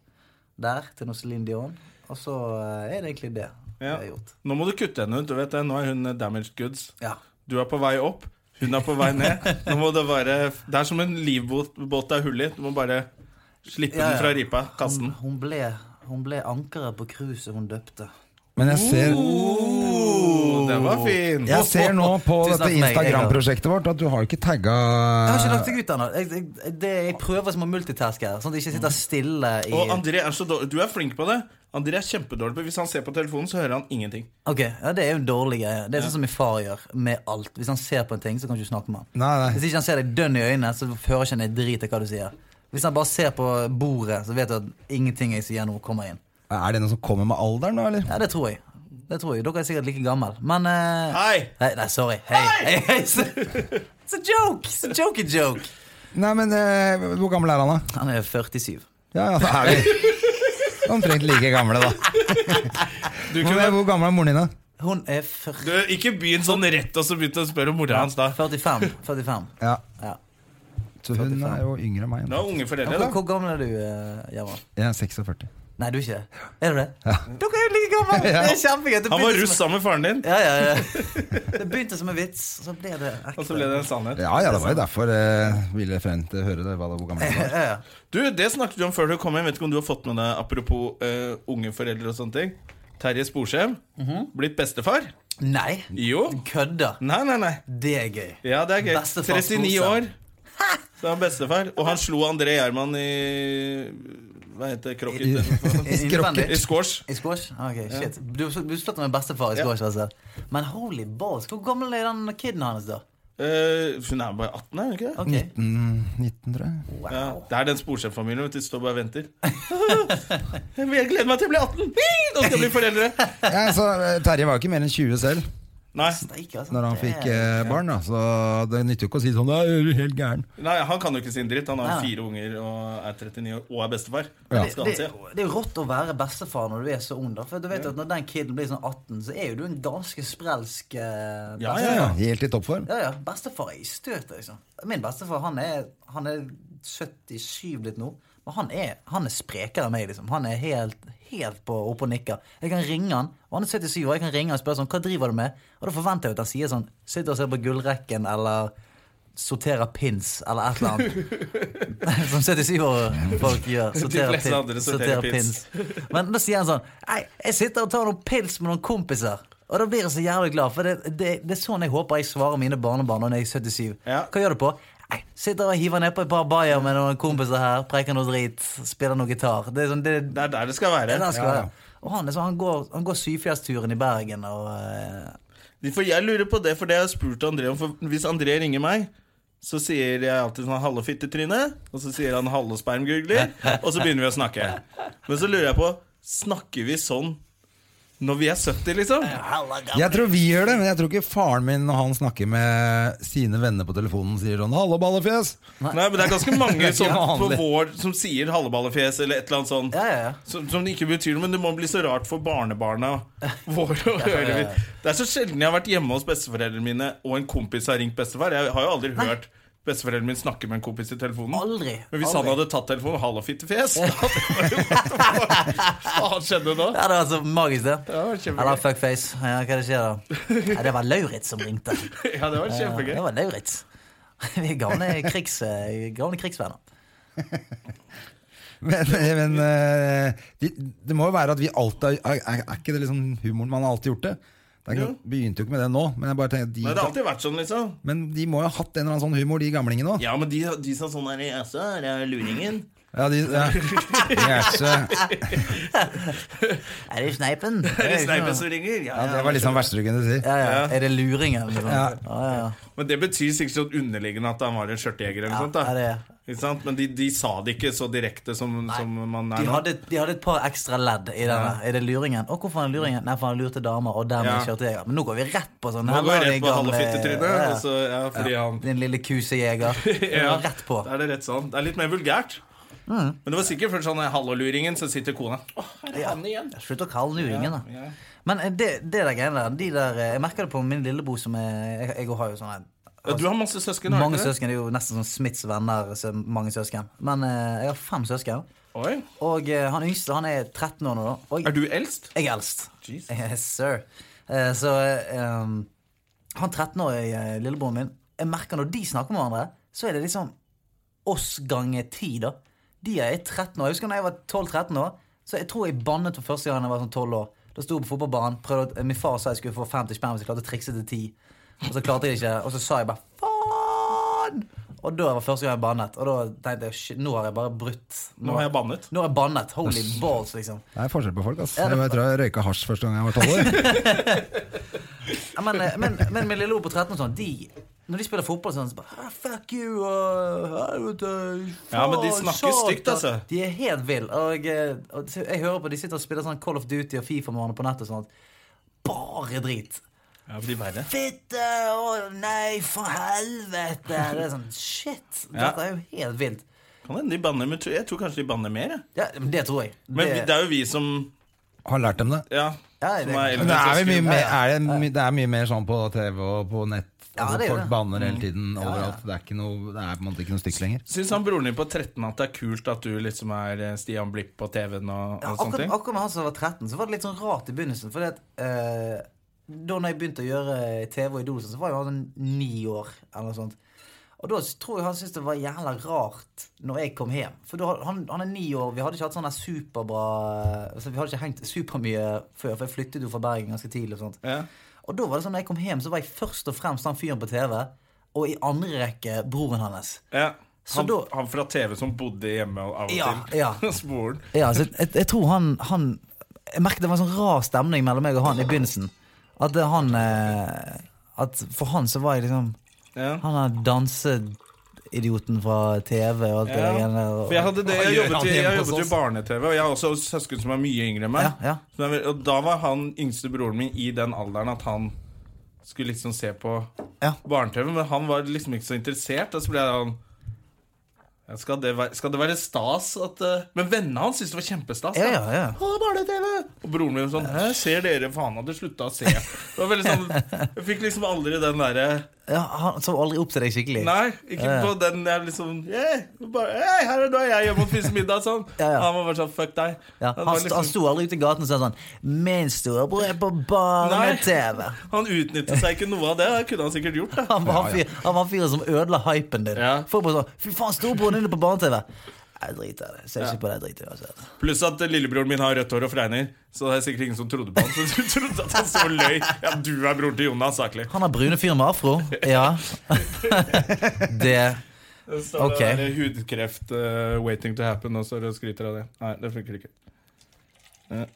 Speaker 3: der, til noe Celine Dion. Og så eh, er det egentlig det
Speaker 1: Ja.
Speaker 3: jeg har gjort.
Speaker 1: Nå må du kutte henne ut. Du vet det. Nå er hun eh, damaged goods.
Speaker 3: Ja.
Speaker 1: Du er på vei opp, hun er på vei ned. Nå må det være Det er som en livbåt båt det er hull i. Du må bare slippe
Speaker 3: Ja, ja.
Speaker 1: den fra ripa. Kaste
Speaker 3: Hun,
Speaker 1: den.
Speaker 3: hun ble, hun ble ankeret på cruiset hun døpte.
Speaker 2: Men jeg ser
Speaker 1: Oh, den var fin!
Speaker 2: Jeg ser nå på
Speaker 3: Tusen
Speaker 2: dette
Speaker 3: takk for meg, jeg har-
Speaker 2: Instagram-prosjektet vårt at du har ikke tagga
Speaker 3: Jeg
Speaker 1: Eh.
Speaker 3: har ikke lagt deg ut ennå. Jeg, jeg, det, jeg prøver som å multitaske her, sånn at jeg ikke sitter stille i
Speaker 1: Mm. Og André er så dårlig. Du er flink på det. André er kjempedårlig på Hvis han ser på telefonen, så hører han ingenting.
Speaker 3: Ok, ja, Det er jo en dårlig greie. Det er sånn som min far gjør med alt. Hvis han ser på en ting, så kan du ikke snakke med han.
Speaker 2: Nei, nei.
Speaker 3: Hvis ikke han ser deg dønn i øynene, så hører ikke han deg drit i hva du sier. Hvis han bare ser på bordet, så vet du at ingenting jeg sier nå, kommer inn.
Speaker 2: Er det noe som kommer med alderen, da, eller?
Speaker 3: Ja, det tror jeg. Det tror jeg. Dere er sikkert like gammel Men eh,
Speaker 1: Hei!
Speaker 3: Hei, Nei, sorry. Hei! hei. hei. It's a joke! It's a jokey joke.
Speaker 2: Nei, men eh, hvor gammel er han, da?
Speaker 3: Han er 47.
Speaker 2: Ja, ja, da er vi omtrent like gamle, da.
Speaker 1: Du,
Speaker 2: Hvor,
Speaker 1: kunne,
Speaker 2: hvor gammel er moren din, da?
Speaker 3: Hun er 40,
Speaker 1: du ikke begynn sånn rett, og så begynte å spørre om mora hans da.
Speaker 3: 45. 45.
Speaker 2: Ja,
Speaker 3: Ja.
Speaker 2: så hun er jo yngre enn meg.
Speaker 1: Du har unge foreldre,
Speaker 3: Hvor,
Speaker 1: da.
Speaker 3: hvor gammel er du, eh, Jamal?
Speaker 2: Jeg er 46.
Speaker 3: Nei, du er ikke det. Er du det? Dere er jo like gamle! Det er kjempegøy.
Speaker 1: Han
Speaker 3: Det
Speaker 1: var
Speaker 3: begynte
Speaker 1: russ
Speaker 3: som-
Speaker 1: sammen med faren din,
Speaker 3: Ja, ja, ja. Det begynte som en vits, og så ble det ekte.
Speaker 1: og så ble det en sannhet.
Speaker 2: Ja, ja, det var jo derfor eh, ville frem til å høre det, hva da, hvor gammel han var.
Speaker 1: Du, Det snakket du om før du kom hjem. Vet ikke om du har fått med deg apropos eh, unge foreldre og sånne ting. Terje Sporsem. Blitt bestefar.
Speaker 3: Nei,
Speaker 1: Jo.
Speaker 3: kødda.
Speaker 1: Nei, nei, nei.
Speaker 3: Det er
Speaker 2: (laughs)
Speaker 3: gøy.
Speaker 1: Ja, det er gøy.
Speaker 3: Bestefar
Speaker 1: 39
Speaker 3: Sporsem.
Speaker 1: år. Så er han bestefar. Og han slo André Gjerman i Hva heter det? Krokket? (laughs) I
Speaker 3: Innvendig.
Speaker 1: squash.
Speaker 3: I squash? Ah, Ok, shit. Du, du slått med bestefar i
Speaker 1: Ja.
Speaker 3: squash, altså. Men holy balls, hvor gammel er den kiden hans, da?
Speaker 1: Eh, hun er bare 18, er hun ikke det?
Speaker 3: Ok,
Speaker 2: 19, tror jeg.
Speaker 1: Ja, det er den Sporsem-familien. vet du, De står bare og venter. (laughs) Jeg gleder meg til jeg blir 18! Nå skal jeg bli foreldre!
Speaker 2: Ja, så, eh, Terje var jo ikke mer enn 20 selv
Speaker 1: Nei,
Speaker 3: Steik, altså.
Speaker 2: når han
Speaker 3: Det er-
Speaker 2: fikk eh, barn, da. så det nytter jo ikke å si sånn Nei, er du helt gæren.
Speaker 1: nei, han kan jo ikke sin dritt. Han har
Speaker 3: Nei.
Speaker 1: fire unger og er 39 år og er bestefar.
Speaker 2: Ja.
Speaker 1: Hva Skal han
Speaker 3: Det,
Speaker 1: si?
Speaker 3: det er jo rått å være bestefar når du er så ung. da For du vet at Når den kiden blir sånn 18, så er jo du en ganske sprelsk eh,
Speaker 1: Ja,
Speaker 2: Ja, ja, helt i toppform.
Speaker 3: Ja, ja. Bestefar er i støtet, liksom. Min bestefar han er, han er 77 blitt nå. Men han er, han er sprekere enn meg, liksom. Han er helt, helt på opp og nikker. Jeg kan ringe han, og han er 77 år, jeg kan ringe han og spørre sånn, hva driver du med? Og da forventer jeg jo at han sier sånn, sitter og ser på gullrekken, eller sorterer pins, eller et eller
Speaker 1: (laughs)
Speaker 3: annet. (laughs) Som 77 år folk gjør. Sorterer,
Speaker 1: fleste andre sorterer
Speaker 3: sorterer pins. (laughs) Men da sier han sånn, nei, jeg sitter og tar noen pils med noen kompiser. Og da blir jeg så jævlig glad, for det, det, det er sånn jeg håper jeg svarer mine barnebarn når jeg er 77.
Speaker 1: Ja.
Speaker 3: Hva gjør du på? Nei, sitter og hiver ned på et par bayer med noen kompiser her, preker noe drit, spiller noe gitar. Det er sånn, det,
Speaker 1: Det er der det skal
Speaker 3: det er
Speaker 1: være.
Speaker 3: der det skal være. Og han, er sånn, han går, han går Syfjellsturen i Bergen og eh,
Speaker 1: For jeg lurer på det, for det har jeg spurt André om. For hvis André ringer meg, så sier jeg alltid sånn 'halve fittetryne', og så sier han 'halve spermgurgler', og så begynner vi å snakke. Men så lurer jeg på Snakker vi sånn når vi er 70, liksom?
Speaker 2: Jeg tror vi gjør det, men jeg tror ikke faren min når han snakker med sine venner på telefonen, sier sånn 'hallo, ballefjes'.
Speaker 1: Nei, men det er ganske mange
Speaker 2: er ikke
Speaker 1: sånn på
Speaker 2: vanlig.
Speaker 1: vår som sier halleballefjes eller et eller annet sånt.
Speaker 3: Ja, ja, ja.
Speaker 1: Som, som det ikke betyr noe, men det må bli så rart for barnebarna våre å høre. Det er så sjelden jeg har vært hjemme hos besteforeldrene mine, og en kompis har ringt bestefar. Jeg har jo aldri hørt besteforeldrene mine snakke med en kompis i telefonen.
Speaker 3: Aldri.
Speaker 1: Men hvis
Speaker 3: aldri.
Speaker 1: han hadde tatt telefonen hallofittefjes (laughs) da hadde jeg bare, Hva faen skjedde nå?
Speaker 3: Ja, det var så magisk, det.
Speaker 1: Ja, det var kjempegøy.
Speaker 3: Eller fuckface. Ja, hva er det skjer da? Ja, det var Lauritz som ringte.
Speaker 1: Ja, det var
Speaker 3: Ja,
Speaker 1: (laughs) kjempegøy.
Speaker 3: det var Lauritz. (laughs) Vi er gamle, krigs, eh, gamle krigsvenner.
Speaker 2: Men, men eh, de, det må jo være at vi alltid har- er, er, er ikke det liksom humoren man har alltid gjort det? Det er ikke,
Speaker 1: Jo.
Speaker 2: begynte jo ikke med det nå, men jeg bare tenker, de,
Speaker 1: Nei, det har alltid vært sånn, liksom.
Speaker 2: Men de må jo ha hatt en eller annen sånn humor, de gamlingene òg.
Speaker 1: Ja, men de, de som sånn er i ESA, er luringen.
Speaker 2: Ja, de, ja. Jæsje.
Speaker 3: Er det sneipen?
Speaker 1: Er (laughs) det
Speaker 3: ikke sånn. noe-
Speaker 1: sneipen som ringer?
Speaker 2: ja, det var liksom verstryggen du sier.
Speaker 3: Ja, ja. Er det luringen? Liksom? Ja. Ja, ja.
Speaker 1: Men det betyr sikkert sånn underliggende at han var en skjørtejeger eller noe sånt.
Speaker 3: ja, det
Speaker 1: da
Speaker 3: er.
Speaker 1: Ikke sant? Men de, de sa det ikke så direkte som, som man er
Speaker 3: De
Speaker 1: nå.
Speaker 3: hadde, de hadde et par ekstra ledd i denne. Er det luringen? Å, hvorfor er det luringen? Nei, for han lurte damer, og dermed
Speaker 1: Ja.
Speaker 3: kjørte jeg. Men nå går vi rett på sånn.
Speaker 1: Nå
Speaker 3: Her
Speaker 1: går jeg
Speaker 3: var vi
Speaker 1: rett på
Speaker 3: gamle-
Speaker 1: halvfittetrynet.
Speaker 3: Ja, ja.
Speaker 1: og så- Ja, fordi han
Speaker 3: Din lille
Speaker 1: (laughs)
Speaker 3: kusejeger.
Speaker 1: Ja,
Speaker 3: Rett på. Mm.
Speaker 1: Da er det rett sånn. Det er litt mer vulgært. Men det var sikkert først sånn halvåluringen, så sitter kona Åh, er det han igjen?
Speaker 3: Slutt å kalle den luringen, da.
Speaker 1: Ja.
Speaker 3: Men eh, det, det der greiene der, de der eh, Jeg merker det på min lillebror som er Jeg, jeg har jo sånn
Speaker 1: Ja, Du har masse søsken, har du
Speaker 3: Mange
Speaker 1: ikke det?
Speaker 3: søsken det er jo nesten som Smiths venner. Så mange søsken Men eh, jeg har fem søsken.
Speaker 1: Oi.
Speaker 3: Og eh, han yngste han er 13 år nå. da. Og
Speaker 1: Er du eldst?
Speaker 3: Jeg er eldst.
Speaker 1: Jesus.
Speaker 3: Yes, sir. Eh, så eh, um, han 13-årige eh, lillebroren min Jeg merker når de snakker med hverandre, så er det liksom oss ganger ti, da. De er 13 år. Jeg husker da jeg var 12-13 år, så jeg tror jeg bannet for første gang da jeg var sånn 12 år. Da sto jeg på fotballbanen. Prøvde, at- min far sa jeg skulle få 50 sperm, så jeg klarte å trikse til 10. Og så klarte jeg det ikke, og så sa jeg bare faen! Og da var første gang jeg bannet. Og da tenkte jeg shit, nå har jeg bare brutt.
Speaker 1: Nå har jeg bannet.
Speaker 3: Nå har jeg bannet. Holy balls, liksom.
Speaker 2: Det er forskjell på folk, ass.
Speaker 3: Ja, det-
Speaker 2: Jeg, tror jeg røyka hasj første gang jeg var tolv år.
Speaker 3: Ja, men, eh, men, men med Lille O på 13 og sånn, de, når de spiller fotball sånn, så bare ah, Fuck you! Og, «Ah, helvete,
Speaker 1: Ja, men de
Speaker 3: eh, faen,
Speaker 1: snakker
Speaker 3: satan.
Speaker 1: stygt, altså.
Speaker 3: De er helt ville. Og, eh, og så jeg hører på de sitter og spiller sånn Call of Duty og Fifa med hverandre på nettet og sånt. Bare drit.
Speaker 1: Ja, blir verre.
Speaker 3: Fitte! Å nei, for helvete! Det er sånn shit.
Speaker 1: Ja.
Speaker 3: Dette er jo helt vilt.
Speaker 1: Kan hende de banner, men jeg tror kanskje de banner mer. jeg.
Speaker 3: Ja, men det tror jeg.
Speaker 1: Men
Speaker 3: det,
Speaker 1: vi- det er jo vi som
Speaker 2: Har lært dem det.
Speaker 1: Ja,
Speaker 3: Ja, det-
Speaker 1: som er
Speaker 2: Men
Speaker 1: eldre
Speaker 2: det er, vel
Speaker 1: søsken.
Speaker 2: mye mer, er det, my- det er mye mer sånn på TV og på nett.
Speaker 3: Ja,
Speaker 2: Altså,
Speaker 3: det gjør
Speaker 2: folk
Speaker 3: det.
Speaker 2: banner hele tiden overalt. Det er, ikke noe, det er på en måte ikke noe stygt lenger.
Speaker 1: Syns han broren din på 13 at det er kult at du liksom er eh, Stian Blipp på TV-en og, og
Speaker 3: Ja,
Speaker 1: sånne
Speaker 3: akkurat,
Speaker 1: ting?
Speaker 3: akkurat med han som var 13, så var det litt sånn rart i begynnelsen. Fordi at eh, Da når jeg begynte å gjøre TV og Idol, så var jo han sånn ni år. eller noe sånt Og da tror jeg han syntes det var jævla rart når jeg kom hjem. For da, han, han er ni år, vi hadde ikke hatt sånn der superbra altså, Vi hadde ikke hengt supermye før, for jeg flyttet jo fra Bergen ganske tidlig. og sånt
Speaker 1: Ja.
Speaker 3: Og da var det sånn når jeg kom hjem, så var jeg først og fremst han fyren på TV, og i andre rekke broren hans.
Speaker 1: Ja.
Speaker 3: Så
Speaker 1: Han,
Speaker 3: da-
Speaker 1: han fra TV som bodde hjemme av og
Speaker 3: Ja,
Speaker 1: til.
Speaker 3: ja.
Speaker 1: (laughs) Hos broren.
Speaker 3: Ja, så jeg, jeg tror han, han Jeg merket det var en sånn rar stemning mellom meg og han i begynnelsen. At eh, han eh, At for han så var jeg liksom
Speaker 1: Ja.
Speaker 3: Han er danseidioten fra TV og alt det
Speaker 1: Ja.
Speaker 3: greiene der.
Speaker 1: For jeg hadde det, jeg
Speaker 3: Gjør
Speaker 1: jobbet,
Speaker 3: han
Speaker 1: i, jeg
Speaker 3: hjemme
Speaker 1: jobbet
Speaker 3: hos
Speaker 1: jo i
Speaker 3: oss?
Speaker 1: barne-TV, og jeg har også søsken som er mye yngre enn meg.
Speaker 3: Ja, ja.
Speaker 1: Så det er vel- Og da var han yngste broren min i den alderen at han skulle liksom se på
Speaker 3: Ja.
Speaker 1: barne-TV, men han var liksom ikke så interessert. Og så ble jeg sånn ja, skal det, være, skal det være stas at eh, Men vennene hans syntes det var kjempestas.
Speaker 3: Ja,
Speaker 1: da.
Speaker 3: ja, ja.
Speaker 1: Å, barne-TV! Og broren
Speaker 3: (laughs)
Speaker 1: min sånn Hæ, ser dere faen hadde slutta å se? Det var veldig sånn Jeg fikk liksom aldri den derre
Speaker 3: Ja, han sov aldri opp til deg skikkelig.
Speaker 1: Nei, ikke på den der liksom «Hey, bare, hey, her er du, og jeg hjemme og spiser middag sånn.
Speaker 3: Ja, ja.
Speaker 1: Han var bare sånn fuck deg.
Speaker 3: Ja,
Speaker 1: var liksom
Speaker 3: han, st- han sto aldri ute i gaten og sa sånn 'Min storebror er på bar
Speaker 1: Nei.
Speaker 3: med TV'.
Speaker 1: han utnyttet seg ikke noe av det. Det kunne han sikkert gjort. Da.
Speaker 3: Han var fyr- han var fyren som ødela hypen din.
Speaker 1: Ja.
Speaker 3: Folk bare sånn 'Fy faen, storebroren din er på barne-TV'. Jeg driter i det. Ser ikke på det. Jeg driter i det. altså.
Speaker 1: Pluss at eh, lillebroren min har rødt hår og fregner. Så det er sikkert ingen som trodde på han Så du trodde at han så løy. Ja, du er broren til Jonas, saklig.
Speaker 3: Han har brune fyr med afro.
Speaker 1: (laughs)
Speaker 3: Ja. det
Speaker 1: Så
Speaker 3: Ok.
Speaker 1: det er hudkreft eh, waiting to happen, og så skryter av det. Nei, det funker ikke.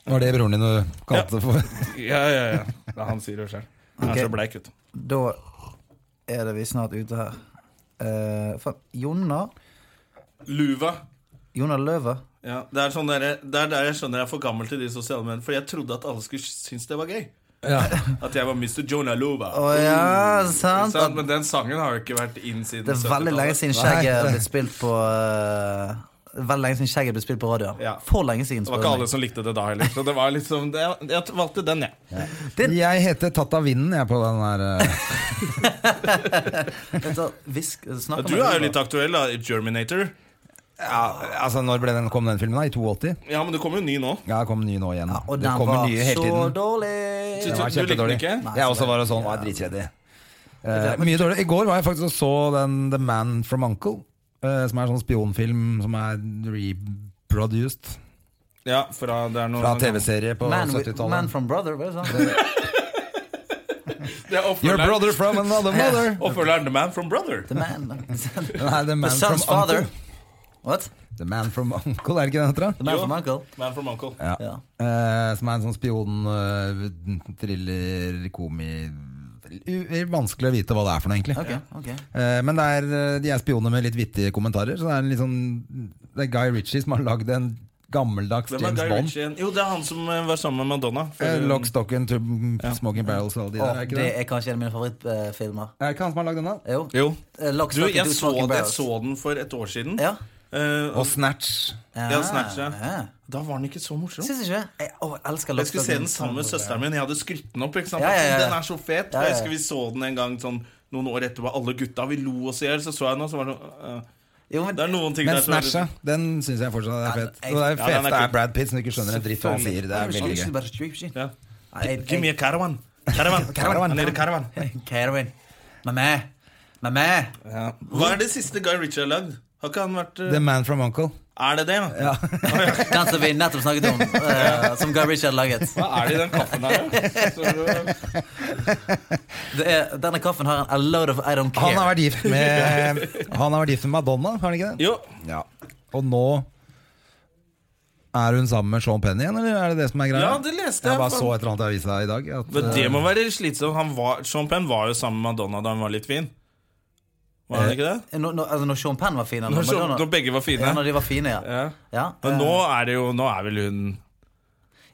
Speaker 2: Var det broren din du kalte det (laughs) for?
Speaker 1: Ja, ja, ja. Det han sier det sjøl. Han er
Speaker 3: Ok.
Speaker 1: så bleik, vet du.
Speaker 3: Da er det vi snart ute her. Eh, faen, Jonna
Speaker 1: Luva.
Speaker 3: Jonna Løve.
Speaker 1: Ja, det er sånn der, det er der jeg skjønner jeg er for gammel til de sosiale mediene. Fordi jeg trodde at alle skulle synes det var gøy. (laughs) At jeg var Mr. Jonah Luva.
Speaker 3: Å ja,
Speaker 1: Mm,
Speaker 3: sant?
Speaker 1: Ikke sant? Men den sangen har jo ikke vært inn siden
Speaker 3: Det er veldig lenge siden
Speaker 2: Nei,
Speaker 3: skjegget
Speaker 2: det-
Speaker 3: ble spilt på eh, Veldig lenge siden skjegget ble spilt på radio.
Speaker 1: Ja.
Speaker 3: For lenge siden.
Speaker 1: Det var
Speaker 3: spør
Speaker 1: ikke
Speaker 3: du
Speaker 1: alle som likte det da heller. Så det var liksom, det, jeg valgte den, jeg.
Speaker 2: Jeg heter Tatta Vinden, jeg, på den der eh,
Speaker 3: meg. Vent da, hvisk- snakk om
Speaker 1: Du
Speaker 3: det.
Speaker 1: er jo litt aktuell, da. i Germinator.
Speaker 2: (laughs) ja, Altså, når ble den, kom den filmen? da? I 82?
Speaker 1: Ja, men det kommer jo ny nå.
Speaker 2: Ja, det kom ny nå igjen.
Speaker 3: Og
Speaker 2: det
Speaker 3: den
Speaker 2: kommer
Speaker 3: var
Speaker 2: nye hele
Speaker 3: så
Speaker 2: tiden.
Speaker 3: dårlig.
Speaker 1: Du-
Speaker 2: Den var
Speaker 1: du likte den
Speaker 2: kjempedårlig.
Speaker 1: ikke?
Speaker 2: Jeg også var sånn, var dritkjedelig. Eh, mye dårlig. I går var jeg faktisk og så den The Man From Uncle, eh, som er en sånn spionfilm som er reproduced
Speaker 1: Ja, fra, det er noe
Speaker 2: fra TV-serie på
Speaker 3: Man, with,
Speaker 2: 70-tallet.
Speaker 3: man from brother, var det sånn?
Speaker 1: Det er
Speaker 2: Your
Speaker 1: oppfølgeren-
Speaker 2: brother from another mother!
Speaker 1: Oppfølgeren The Man From Brother.
Speaker 3: The man. The
Speaker 2: Nei, The Man From
Speaker 3: son's father.
Speaker 2: Uncle.
Speaker 3: What?
Speaker 2: The Man From Uncle, er det ikke den heter? da?
Speaker 3: The man
Speaker 1: Jo.
Speaker 3: from uncle?
Speaker 1: Man From Uncle.
Speaker 2: Ja.
Speaker 3: Ja.
Speaker 2: Eh, som er en sånn spion, eh, thriller, komi u- Vanskelig å vite hva det er for noe, egentlig.
Speaker 3: Ok, ok.
Speaker 2: Eh, Men det er, eh, de er spioner med litt vittige kommentarer. Så Det er, en litt sånn, det er Guy Ritchie som har lagd en gammeldags
Speaker 1: Hvem er
Speaker 2: James
Speaker 1: Guy
Speaker 2: Bond.
Speaker 1: Ritchie igjen? Jo, det er han som eh, var sammen med Madonna. For,
Speaker 2: Eh, Lock, stock and two smoking barrels og alle de
Speaker 3: Å,
Speaker 2: der. Er ikke
Speaker 3: det
Speaker 2: det? Eh,
Speaker 3: er kanskje en av mine favorittfilmer.
Speaker 2: Er det ikke han som har lagd den, da?
Speaker 3: Jo.
Speaker 1: Jo.
Speaker 3: Eh, Lock,
Speaker 1: Du,
Speaker 3: Stock and
Speaker 1: jeg
Speaker 3: Two
Speaker 1: så,
Speaker 3: Smoking
Speaker 1: det, jeg
Speaker 3: Barrels.
Speaker 1: så den for et år siden.
Speaker 3: Ja. Ah,
Speaker 1: Eh,
Speaker 2: Og Snatch.
Speaker 1: Ja, Snatch, ja.
Speaker 3: ja.
Speaker 1: da var den ikke så morsom.
Speaker 3: Syns ikke det? Jeg, å, jeg elsker
Speaker 1: Jeg skulle
Speaker 3: Lock, Stock
Speaker 1: se den
Speaker 3: and
Speaker 1: sammen med
Speaker 3: Two Smoking
Speaker 1: søsteren min. Jeg hadde skrytt den opp. ikke sant?
Speaker 3: Ja, ja, ja.
Speaker 1: Den er så fet.
Speaker 3: Ja, ja, ja.
Speaker 1: Jeg husker vi så den en gang sånn noen år etterpå. Alle gutta, vi lo oss i hjel. Så så jeg den, og så var det sånn, eh,
Speaker 3: Barrels. Jo, men
Speaker 1: Det er noen ting
Speaker 2: Men
Speaker 1: der som er litt-
Speaker 2: Snatch, ja. Den syns jeg fortsatt er
Speaker 3: Ja,
Speaker 2: fet.
Speaker 3: jeg-
Speaker 2: Og det
Speaker 1: Ja,
Speaker 2: er
Speaker 1: den er
Speaker 2: fete er
Speaker 1: kul.
Speaker 2: Brad Pitt, som ikke skjønner en dritt hva han sier. Det er veldig gøy.
Speaker 1: Ja.
Speaker 3: Nei, jeg-
Speaker 1: Give me a caravan. Caravan.
Speaker 2: Caravan.
Speaker 1: Han heter
Speaker 3: (laughs)
Speaker 1: caravan.
Speaker 3: Catherine. Mamma. Mamma.
Speaker 1: Hva er det siste Guy Ritchie har lagd? Har ikke han vært eh,
Speaker 2: The Man From Uncle.
Speaker 1: Er det det, ja?
Speaker 3: Den som vi nettopp snakket
Speaker 1: (laughs)
Speaker 3: om, eh, som Guy Ritchie hadde laget.
Speaker 1: Hva er det i den kaffen her? da? Så, øh,
Speaker 3: Det er, denne kaffen har en a load of I don't care.
Speaker 2: Han har vært gift med, han har vært gift med Madonna, har han ikke det?
Speaker 1: jo.
Speaker 2: Ja. Og nå er hun sammen med Sean Penn igjen, eller er det det som er greia?
Speaker 1: Ja, det leste jeg,
Speaker 2: Jeg bare
Speaker 1: faen.
Speaker 2: så et eller annet i avisa i dag. At,
Speaker 1: Men det må være slitsomt. Han var, Sean Penn var jo sammen med Madonna da han var litt fin. Var han ikke det?
Speaker 3: Når, når, altså når Sean Penn var fin? Eller
Speaker 1: Når, Sean-
Speaker 3: Madonna-
Speaker 1: når begge var
Speaker 3: ja,
Speaker 1: fine.
Speaker 3: når de var fine, ja.
Speaker 1: Ja.
Speaker 3: ja.
Speaker 1: Men nå er det jo Nå er vel hun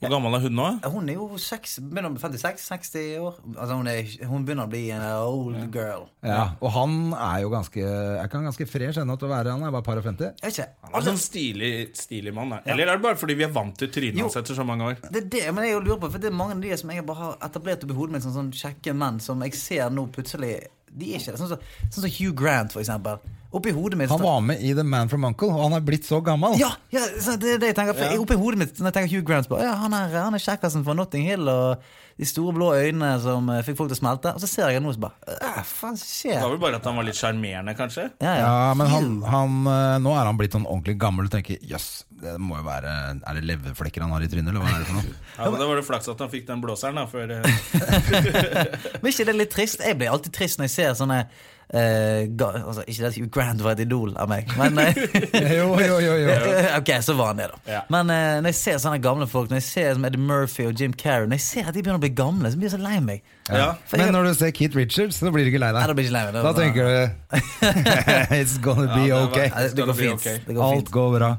Speaker 1: Hvor gammel er hun nå?
Speaker 3: eh, Hun er jo seks, begynner å bli 56-60 år. Altså hun, er, hun begynner å bli en old girl.
Speaker 2: eh, ja, og han er jo ganske Er ikke han ganske fresh ennå til å være han? Er bare par og 50?
Speaker 3: Er ikke
Speaker 1: Han er sånn stilig, stilig mann. da. Eller er det bare fordi vi er vant til trynet hans etter så mange år?
Speaker 3: Det er det, men jeg lurer på, for det er mange av de som jeg bare har etablert opp i hodet mitt som sånn kjekke menn, som jeg ser nå plutselig De er ikke det. Sånn som sånn som Hugh Grant, for eksempel. Oppi hodet mitt
Speaker 2: Han var med i The Man from Uncle, og han er blitt så gammel.
Speaker 3: Ja, ja så det er det jeg tenker. For Oppi hodet mitt når jeg tenker Hugh Grant, så bare, ja, han er, han er kjekkasen fra Notting Hill og de store blå øynene som eh, fikk folk til å smelte. Og så ser jeg ham nå, så bare Hva faen
Speaker 1: Det var
Speaker 3: skjer?
Speaker 1: vel bare at han var litt sjarmerende, kanskje?
Speaker 3: Ja, ja.
Speaker 2: Ja, men han, han, eh, nå er han blitt sånn ordentlig gammel og tenker jøss, det må jo være Er det leverflekker han har i trynet, eller hva er det for noe?
Speaker 1: Ja, men Altså, Da var det flaks at han fikk den blåseren, da. For, eh,
Speaker 3: Men ikke det er litt trist? Jeg blir alltid trist når jeg ser sånne eh, ga, altså, Ikke det at Hugh Grant var et idol av meg, men
Speaker 2: (laughs)
Speaker 3: eh,
Speaker 2: (laughs) jo, jo, jo, jo.
Speaker 3: (laughs) Ok, så var han det, da.
Speaker 1: Ja.
Speaker 3: Men eh, når jeg ser sånne gamle folk, Når jeg ser som Eddie Murphy og Jim Carrey Når jeg ser at de begynner å bli gamle, så blir jeg så lei meg.
Speaker 1: ja.
Speaker 3: For jeg-
Speaker 2: Men når du ser Keith Richards, så blir du ikke lei
Speaker 3: Nei, da
Speaker 2: deg.
Speaker 3: blir jeg ikke lei meg.
Speaker 2: Da tenker du (laughs) It's gonna
Speaker 1: Ja,
Speaker 2: be
Speaker 1: det var-
Speaker 2: okay.
Speaker 3: Nei, det, det går fint.
Speaker 1: Ok.
Speaker 3: Det går
Speaker 2: Alt
Speaker 3: fint.
Speaker 2: går bra.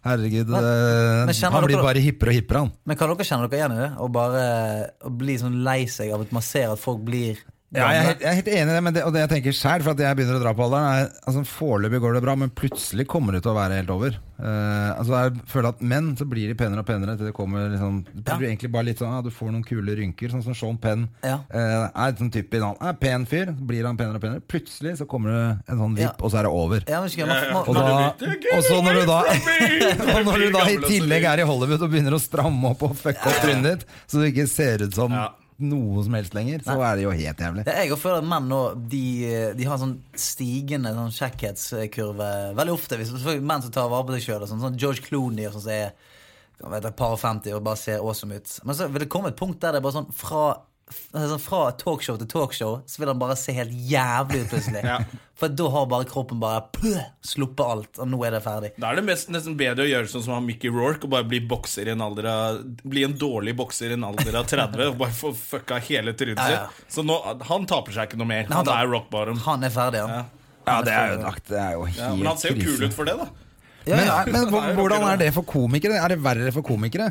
Speaker 2: Herregud. eh,
Speaker 3: men kjenner
Speaker 2: han blir
Speaker 3: dere-
Speaker 2: bare hippere og hippere, han.
Speaker 3: eh, Men kan dere kjenne dere igjen i det? Å bare å bli sånn lei seg av at man ser at folk blir
Speaker 2: Ja, jeg, er helt, jeg er helt enig i det, men det, og det jeg tenker selv, for at jeg begynner å dra på alderen er, altså, Foreløpig går det bra, men plutselig kommer det til å være helt over. Eh, altså, jeg føler at Menn så blir de penere og penere til det kommer liksom, det blir egentlig bare litt sånn ja, Du får noen kule rynker, sånn som Sean Penn.
Speaker 3: Ja.
Speaker 2: Eh, er sånn type, han er pen fyr, så blir han penere og penere. Plutselig så kommer det en sånn vipp,
Speaker 3: Ja.
Speaker 2: og så er det over.
Speaker 3: Ja, men, skal jeg- man,
Speaker 2: Og,
Speaker 3: man,
Speaker 2: da, og så når du da (laughs) Og når du da i tillegg er i Hollywood og begynner å stramme opp og fucke opp trynet ditt, så du ikke ser ut som
Speaker 1: Ja.
Speaker 2: noe som helst lenger, så er det jo helt jævlig.
Speaker 3: Ja, jeg føler at menn nå de, de har en sånn stigende sånn kjekkhetskurve veldig ofte. Hvis, selvfølgelig menn som tar vare på seg sjøl. Sånn, sånn George Clooney og sånn som er jeg vet, et par og 50 og bare ser awesome ut. Men så vil det komme et punkt der det er bare sånn fra altså, fra talkshow til talkshow Så vil han bare se helt jævlig ut plutselig.
Speaker 1: Ja.
Speaker 3: For da har bare kroppen bare pøh, sluppet alt, og nå er det ferdig.
Speaker 1: Da er det mest, nesten bedre å gjøre sånn som han Mickey Rourke og bare bli bokser i en alder av Bli en dårlig bokser i en alder av 30 og bare få fucka hele trynet
Speaker 3: Ja, ja.
Speaker 1: sitt. Så nå, han taper seg ikke noe mer.
Speaker 3: Nei,
Speaker 1: Han
Speaker 3: han tar-
Speaker 1: er rock bottom.
Speaker 3: Han er ferdig, han.
Speaker 1: Ja.
Speaker 2: Ja, det er jo, det er jo helt
Speaker 1: Ja, men han ser jo kul ut for det, da.
Speaker 3: Ja,
Speaker 2: Men,
Speaker 3: ja.
Speaker 2: men hvor- hvordan er det for komikere? Er det verre for komikere?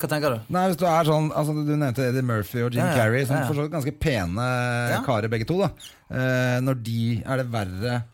Speaker 3: Hva tenker du?
Speaker 2: Nei, hvis Du er sånn, altså du nevnte Eddie Murphy og Jim
Speaker 3: Ja, ja,
Speaker 2: Carrey, som
Speaker 3: ja, ja.
Speaker 2: for så vidt ganske pene
Speaker 3: Ja.
Speaker 2: karer begge to. da eh, Når de er det verre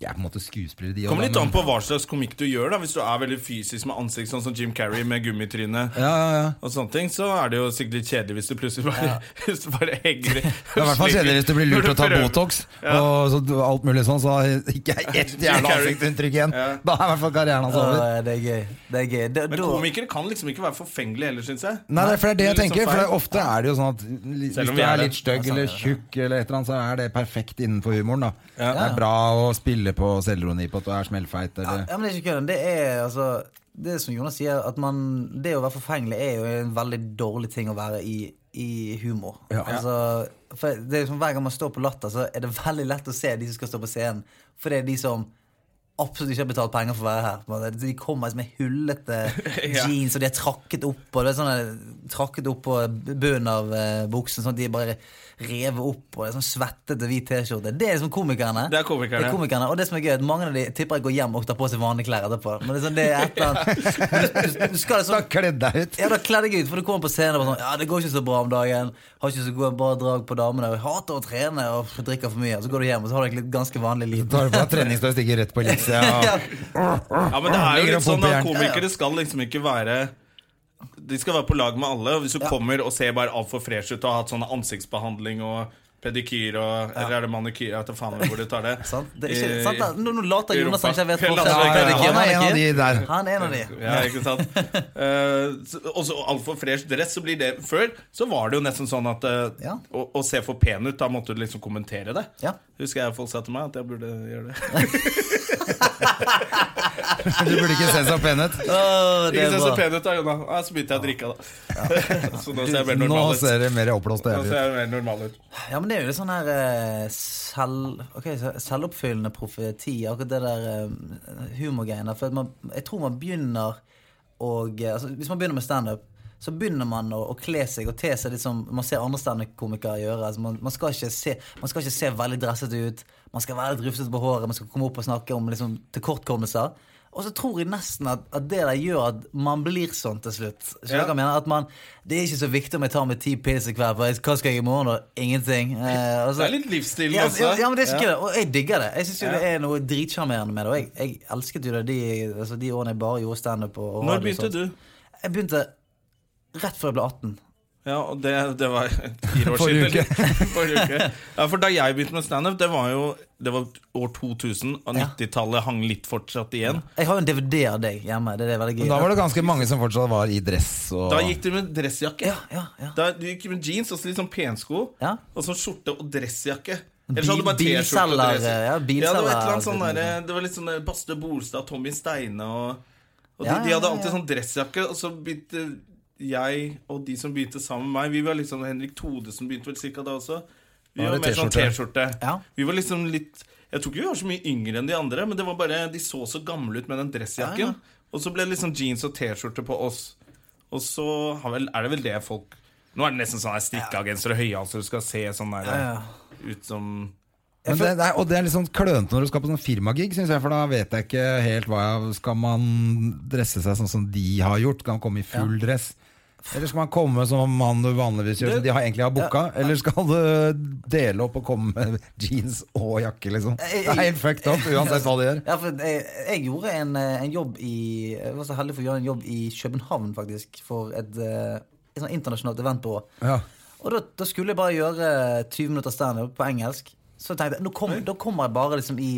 Speaker 2: De er på en måte skuespillere, de
Speaker 1: Kommer
Speaker 2: også,
Speaker 1: litt
Speaker 2: da,
Speaker 1: an
Speaker 2: men-
Speaker 1: på hva slags komikk du gjør. da Hvis du er veldig fysisk med ansikt, sånn som Jim Carrey med gummitryne,
Speaker 2: Ja, ja, ja.
Speaker 1: og sånne ting, så er det jo sikkert litt kjedelig hvis du plutselig bare, (laughs) hvis du bare henger i
Speaker 2: Det er i hvert fall kjedelig hvis du blir lurt til å ta
Speaker 1: Prøver.
Speaker 2: Botox
Speaker 1: Ja.
Speaker 2: og så, alt mulig sånn, så
Speaker 1: (laughs)
Speaker 2: ikke er ett jævla
Speaker 1: Carrey.
Speaker 2: ansiktsuttrykk igjen.
Speaker 1: Ja.
Speaker 2: Da er i hvert fall karrieren hans over.
Speaker 3: Å, det er gøy. Det er gøy. Da-
Speaker 1: Men
Speaker 3: da-
Speaker 1: komikere kan liksom ikke være forfengelige heller, syns jeg.
Speaker 2: Nei, det er, for det er det
Speaker 1: Det er
Speaker 2: jeg
Speaker 1: liksom
Speaker 2: tenker. For det er
Speaker 1: feil.
Speaker 2: ofte er det jo sånn at li-
Speaker 1: Selv
Speaker 2: Hvis
Speaker 1: om vi
Speaker 2: du
Speaker 1: er
Speaker 2: er
Speaker 1: det.
Speaker 2: litt stygg
Speaker 3: Ja, sånn er
Speaker 2: eller
Speaker 3: det.
Speaker 2: tjukk, eller et eller annet så er det perfekt innenfor humoren. da Det er bra å spille på selvroni på at du er smellfeit. Eller.
Speaker 3: Ja, men det er ikke kødden. Det er altså Det som Jonas sier, at man Det å være forfengelig er jo en veldig dårlig ting å være i, i humor.
Speaker 2: Ja.
Speaker 3: Altså, for det er jo som Hver gang man står på Latter, så er det veldig lett å se de som skal stå på scenen. For det er de som absolutt ikke har betalt penger for å være her. på en måte. De kommer altså med hullete
Speaker 1: Ja.
Speaker 3: jeans, og de er trakket opp og det er sånne, trakket opp på bunnen av eh, buksen, sånn at de bare revet opp, og det er sånn svettete hvit T-skjorte. Det er liksom komikerne.
Speaker 1: Det er komikerne.
Speaker 3: Og det som er gøy, er at mange av de tipper jeg går hjem og tar på seg vanlige klær etterpå. Men det er sånn, det er et eller annet. Du, du, du skal
Speaker 2: Da
Speaker 3: liksom
Speaker 2: kledd deg ut.
Speaker 3: ja, da kler deg ut, for du kommer på scenen og bare sånn Ja, det går ikke så bra om dagen. Har ikke så god bra drag på damene. og Jeg hater å trene og drikker for mye. Og så går du hjem, og så har du egentlig et ganske vanlig liv.
Speaker 2: Tar du
Speaker 3: (laughs)
Speaker 2: på deg treningstøy og stikker rett på Elixia.
Speaker 3: Ja.
Speaker 1: Ja, men det er jo
Speaker 2: Ligger og
Speaker 1: litt sånn
Speaker 2: pumper
Speaker 1: at
Speaker 2: jern.
Speaker 1: Komikere skal liksom ikke være De skal være på lag med alle. og Hvis du kommer og ser bare altfor fresh ut og har hatt sånn ansiktsbehandling og pedikyr og Eller er det manikyr? Jeg vet da faen hvor du tar det.
Speaker 2: (laughs)
Speaker 3: Sant? Det er ikke,
Speaker 1: I-
Speaker 3: sant? da? Nå, nå later
Speaker 1: i
Speaker 3: Jonas
Speaker 1: rumpa.
Speaker 3: han ikke vet
Speaker 1: Jeg later
Speaker 3: forskjell.
Speaker 1: ikke.
Speaker 3: Ja,
Speaker 2: Han er en av
Speaker 3: ja, ja.
Speaker 2: de der.
Speaker 3: Han er en av de.
Speaker 1: Ja, ikke sant? Eh, så- Og så altfor fresh dress. Så blir det, før så var det jo nesten sånn at eh,
Speaker 3: Ja.
Speaker 1: å, å se for pen ut, da måtte du liksom kommentere det.
Speaker 3: Ja.
Speaker 1: Husker jeg folk sa til meg at jeg burde gjøre det.
Speaker 2: Du burde ikke se så pen ut.
Speaker 3: Å, det
Speaker 1: Ikke
Speaker 3: er
Speaker 1: se så
Speaker 3: bra.
Speaker 1: pen ut da, Jonna. Ah, så begynte jeg å drikke, da. (laughs) så nå ser jeg mer
Speaker 2: Nå
Speaker 1: normal ut.
Speaker 2: ser det mer oppblåst og
Speaker 1: Nå ser
Speaker 2: jævlig ut.
Speaker 1: jeg mer normal ut.
Speaker 3: Ja, men det er jo litt sånn her eh, selv, ok, så- selvoppfyllende profeti, akkurat det der eh, humorgreiene. For at man, jeg tror man begynner og, eh, altså, Hvis man begynner med standup, så begynner man å, å kle seg og te seg litt som man ser andre standup-komikere gjøre. Altså, man, man, skal ikke se, man skal ikke se veldig dresset ut, man skal være litt rufsete på håret, man skal komme opp og snakke om liksom, tilkortkommelser. Og så tror jeg nesten at, at det der gjør at man blir sånn til slutt. Skjønner du hva
Speaker 1: Ja.
Speaker 3: jeg mener? At man, Det er ikke så viktig om jeg tar meg ti pils i kveld, for jeg- hva skal jeg i morgen? da? Ingenting. Eh, og
Speaker 1: Det
Speaker 3: så-
Speaker 1: er litt livsstilen
Speaker 3: ja,
Speaker 1: også.
Speaker 3: Ja, ja, men det er ikke det. Og jeg digger det. Jeg syns jo
Speaker 1: Ja.
Speaker 3: det er noe dritsjarmerende med det. Og jeg, jeg elsket jo det de, altså, de årene jeg bare gjorde standup. og- og
Speaker 1: Når
Speaker 3: radio og
Speaker 1: begynte
Speaker 3: sånt.
Speaker 1: du?
Speaker 3: Jeg begynte rett før jeg ble 18.
Speaker 1: Ja, og det, det var fire år
Speaker 2: Forrige
Speaker 1: siden. eller? (laughs) Forrige uke. Ja, for da jeg begynte med standup, det var jo det var år 2000, og
Speaker 3: Ja.
Speaker 1: 90-tallet hang litt fortsatt igjen.
Speaker 3: Jeg har jo en DVD av deg hjemme. Det er det veldig gøy.
Speaker 2: Men da var det ganske mange som fortsatt var i dress. Og...
Speaker 1: Da gikk du med dressjakke.
Speaker 3: Ja, ja, ja.
Speaker 1: Da, du gikk med jeans og så litt sånn pensko,
Speaker 3: Ja.
Speaker 1: og sånn skjorte og dressjakke. Ellers hadde du bare
Speaker 3: Bil-
Speaker 1: T-skjorte og dress.
Speaker 3: bilselger, ja, bilselger.
Speaker 1: det var et eller annet sånn der, Det var litt sånn der Baste Bolstad, Tommy Steine og, og de,
Speaker 3: Ja, ja,
Speaker 1: de hadde
Speaker 3: ja,
Speaker 1: alltid sånn dressjakke, og så begynte jeg og de som begynte sammen med meg Vi var liksom Henrik Thodesen begynte vel cirka da også. Vi
Speaker 2: Da
Speaker 1: var
Speaker 2: var det
Speaker 1: mer sånn T-skjorte.
Speaker 3: Ja.
Speaker 1: Vi var liksom litt Jeg tror ikke vi var så mye yngre enn de andre, men det var bare de så så gamle ut med den dressjakken. Og så ble det liksom jeans og T-skjorte på oss. Og så har vel, er det vel det folk Nå er det nesten sånn her strikkeagenser og høyhalser du skal se sånn der ut som
Speaker 2: Men det, det er, og det er litt sånn klønete når du skal på sånn firmagig, syns jeg. For da vet jeg ikke helt hva jeg Skal man dresse seg sånn som de har gjort? Kan man komme i full dress? Eller skal man komme som han du vanligvis gjør, som de har egentlig har booka? Eller skal du dele opp og komme med jeans og jakke, liksom? Det er helt fucked up, uansett hva du gjør.
Speaker 3: Ja, for jeg, jeg gjorde en, eh, en jobb i Jeg var så heldig for å gjøre en jobb i København, faktisk. For et, eh, et sånt internasjonalt eventbyrå.
Speaker 2: Ja.
Speaker 3: Og da, da skulle jeg bare gjøre 20 minutter standup på engelsk. Så tenkte jeg, nå kom, da kommer jeg bare liksom i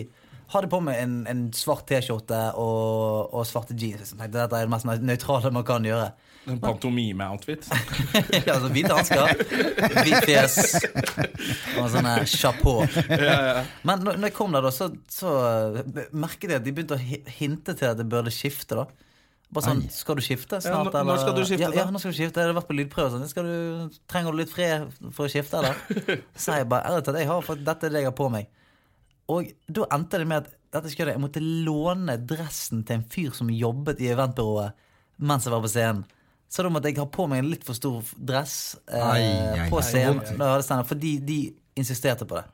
Speaker 3: Hadde på meg en, en svart T-skjorte og, og svarte jeans. Liksom. Tenkte, Dette er det mest nøytrale man kan gjøre.
Speaker 1: En
Speaker 3: (laughs)
Speaker 1: pantomime-outfit.
Speaker 3: ja, altså hvite hansker, hvitt fjes og sånn eh, chapeau. Men når, når jeg kom der, da, så, så eh, merket jeg at de begynte å hi- hinte til at jeg burde skifte. da Bare sånn, Skal du skifte
Speaker 1: Ja,
Speaker 3: snart?
Speaker 1: nå- når skal du skifte,
Speaker 3: ja,
Speaker 1: da?
Speaker 3: ja, nå skal du skifte. Jeg har vært på lydprøve. og Sånn. Skal du, trenger du litt fred for å
Speaker 1: (laughs)
Speaker 3: skifte, eller? Så sa jeg bare ærlig talt, jeg har fått dette er det jeg har på meg. Og da endte det med at dette skulle jeg, jeg måtte låne dressen til en fyr som jobbet i eventbyrået mens jeg var på scenen. Så da måtte jeg ha på meg en litt for stor dress eh,
Speaker 2: Ai, ai,
Speaker 3: på
Speaker 2: ai.
Speaker 3: scenen. når jeg hadde standup, fordi de insisterte på det.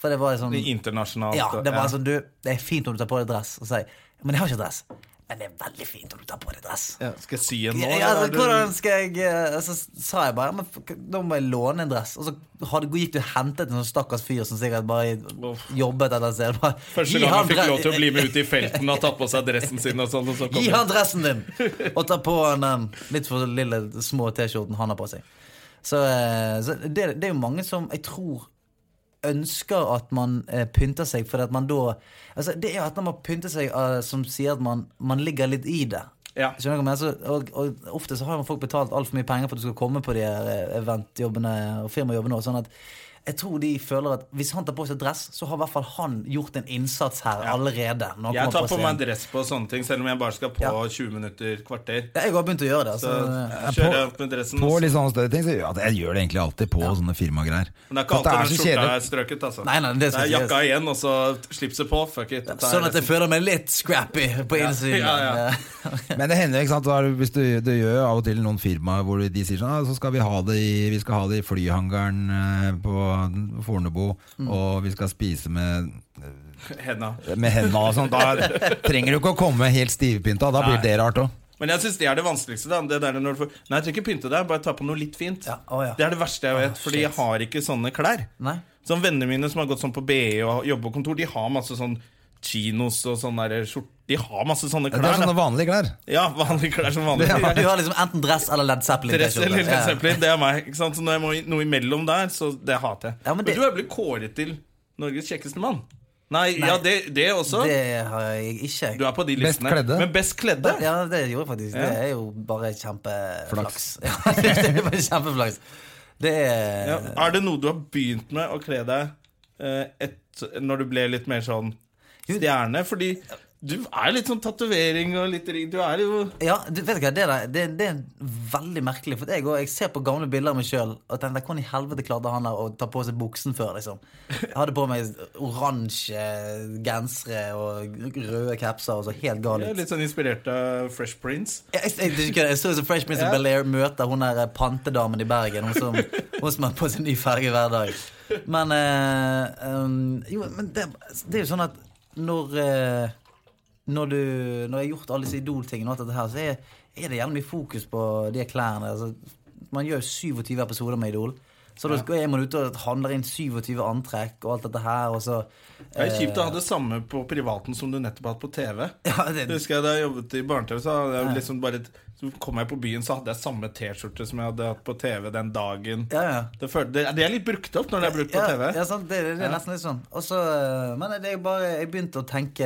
Speaker 3: For det var sånn
Speaker 1: I Internasjonalt.
Speaker 3: Ja, det var
Speaker 1: ja.
Speaker 3: sånn du, det er fint om du tar på deg dress. Og så sier jeg, men jeg har ikke dress. Men det er veldig fint om du tar på deg dress.
Speaker 1: Ja, Skal jeg si en nå?
Speaker 3: Ja, ja,
Speaker 1: eller
Speaker 3: altså,
Speaker 1: er
Speaker 3: hvordan skal jeg eh, Så sa jeg bare men, fuck, Da må jeg låne en dress. Og så hadde, gikk du og hentet en sånn stakkars fyr som sikkert bare jobbet et eller annet sted. Bare,
Speaker 1: Første
Speaker 3: gi
Speaker 1: gang han
Speaker 3: han
Speaker 1: fikk
Speaker 3: dre-
Speaker 1: lov til å bli med ut i felten og tatt på seg dressen sin. og sånn, og så kom
Speaker 3: Gi
Speaker 1: det.
Speaker 3: han dressen din! Og ta på han den litt for lille, små T-skjorten han har på seg. Så, eh, så det, det er jo mange som jeg tror ønsker at man eh, pynter seg, fordi at man da altså, Det er jo at når man pynter seg, eh, som sier at man, man ligger litt i det.
Speaker 1: Ja.
Speaker 3: Skjønner du hva jeg mener? Så, og, og ofte så har jo folk betalt altfor mye penger for at du skal komme på de her eh, eventjobbene og firmajobbene. Og sånn at jeg tror de føler at hvis han tar på seg dress, så har i hvert fall han gjort en innsats her allerede. når han
Speaker 1: Jeg
Speaker 3: kommer
Speaker 1: tar på
Speaker 3: scenen.
Speaker 1: meg en dress på sånne ting, selv om jeg bare skal på
Speaker 3: Ja.
Speaker 1: 20 minutter, kvarter.
Speaker 3: Ja, Jeg har begynt å gjøre det.
Speaker 1: Så
Speaker 3: Altså.
Speaker 1: kjører jeg opp med dressen. altså.
Speaker 2: På
Speaker 1: og så-
Speaker 2: litt sånne større ting. Så, ja, jeg gjør det egentlig alltid på sånne firmagreier.
Speaker 1: Men det er
Speaker 2: For
Speaker 1: ikke
Speaker 2: at det
Speaker 1: alltid den
Speaker 2: så
Speaker 1: skjorta
Speaker 2: kjedelig.
Speaker 1: er strøket, altså.
Speaker 3: Nei, nei, det
Speaker 1: det
Speaker 3: skal
Speaker 1: er
Speaker 3: sies.
Speaker 1: jakka igjen, og så slipset på. Fuck it. Det er
Speaker 3: Sånn at jeg
Speaker 1: liksom-
Speaker 3: føler meg litt scrappy på innsiden.
Speaker 1: Ja, ja.
Speaker 2: Men det hender, ikke sant. da er det- Hvis du, du gjør av og til noen firmaer hvor de sier sånn ah, Så skal vi ha det i, vi skal ha det i flyhangaren eh, på Fornebu, og vi skal spise med
Speaker 1: Henda.
Speaker 2: med hendene og sånn. Da trenger du ikke å komme helt stivpynta. Da blir
Speaker 1: Nei.
Speaker 2: det rart òg.
Speaker 1: Men jeg syns det er det vanskeligste. Da. Det der når du får, nei, jeg trenger ikke pynte deg, bare ta på noe litt fint.
Speaker 3: Ja, å ja.
Speaker 1: Det er det verste jeg vet, fordi jeg
Speaker 3: shit.
Speaker 1: har ikke sånne klær.
Speaker 3: Nei.
Speaker 1: Sånn Vennene mine som har gått sånn på BI og jobber på kontor, de har masse sånn chinos og sånne der skjort... De har masse sånne
Speaker 2: Det er
Speaker 1: klær. da.
Speaker 2: sånne vanlige klær.
Speaker 1: Ja, vanlige klær som vanlig.
Speaker 3: (laughs) (laughs) Ja, Du har liksom enten dress eller Led Zeppelin.
Speaker 1: Dress eller
Speaker 3: t-skjorte. sånn, Ja.
Speaker 1: Zeppelin, det er meg. Ikke sant? Så når jeg må i- noe imellom der, så det hater jeg.
Speaker 3: Ja,
Speaker 1: men,
Speaker 3: men det-
Speaker 1: du er blitt kåret til Norges kjekkeste mann. Nei, ja, det, det også.
Speaker 3: Det har jeg ikke.
Speaker 1: Du er på de
Speaker 2: Best
Speaker 1: listene.
Speaker 2: kledde.
Speaker 1: Men best kledde?
Speaker 3: Ja, det gjorde jeg faktisk. Det er jo bare kjempeflaks.
Speaker 2: Flaks.
Speaker 3: (laughs) Ja, det er bare kjempeflaks. Det er
Speaker 1: Ja. Er det noe du har begynt med å kle deg eh, et, når du ble litt mer sånn stjerne? Fordi du er litt sånn tatovering og litt ring Du er jo
Speaker 3: Ja, du vet ikke hva, det, der, det, det er veldig merkelig. For jeg, går- jeg ser på gamle bilder av meg sjøl og tenker hvordan i helvete klarte han der å ta på seg buksen før? liksom Jeg hadde på meg oransje gensere og røde capser og så helt gal
Speaker 1: jeg er
Speaker 3: ut.
Speaker 1: litt sånn inspirert av Fresh Prince.
Speaker 3: Jeg, jeg, jeg, jeg, jeg så jo så Fresh Prince of Bel-Air møter hun der eh, pantedamen i Bergen. Hun som, hun som er på sin ny ferge hver dag. Men eh, um, Jo, men det, det er jo sånn at når eh, når, du, når jeg har gjort alle disse Idol-tingene, og alt dette her, så er, er det gjerne mye fokus på de klærne. Altså, man gjør jo 27 episoder med Idol. Så da går- er man ute og handler inn 27 antrekk og alt dette her, og så
Speaker 1: Det er kjipt å ha det samme på privaten som du nettopp har hatt på TV.
Speaker 3: Eh. (laughs) Ja, det-
Speaker 1: Husker jeg Da jeg jobbet i barne-TV, så, hadde jeg jo liksom bare- så kom jeg på byen, så hadde jeg samme T-skjorte som jeg hadde hatt på TV den dagen.
Speaker 3: Ja, ja.
Speaker 1: Det, følte, det, det er litt brukt opp når det er brukt på
Speaker 3: ja,
Speaker 1: TV.
Speaker 3: Ja, sant, det, det er nesten litt sånn. Og så, øh, men det er jo bare, jeg begynte å tenke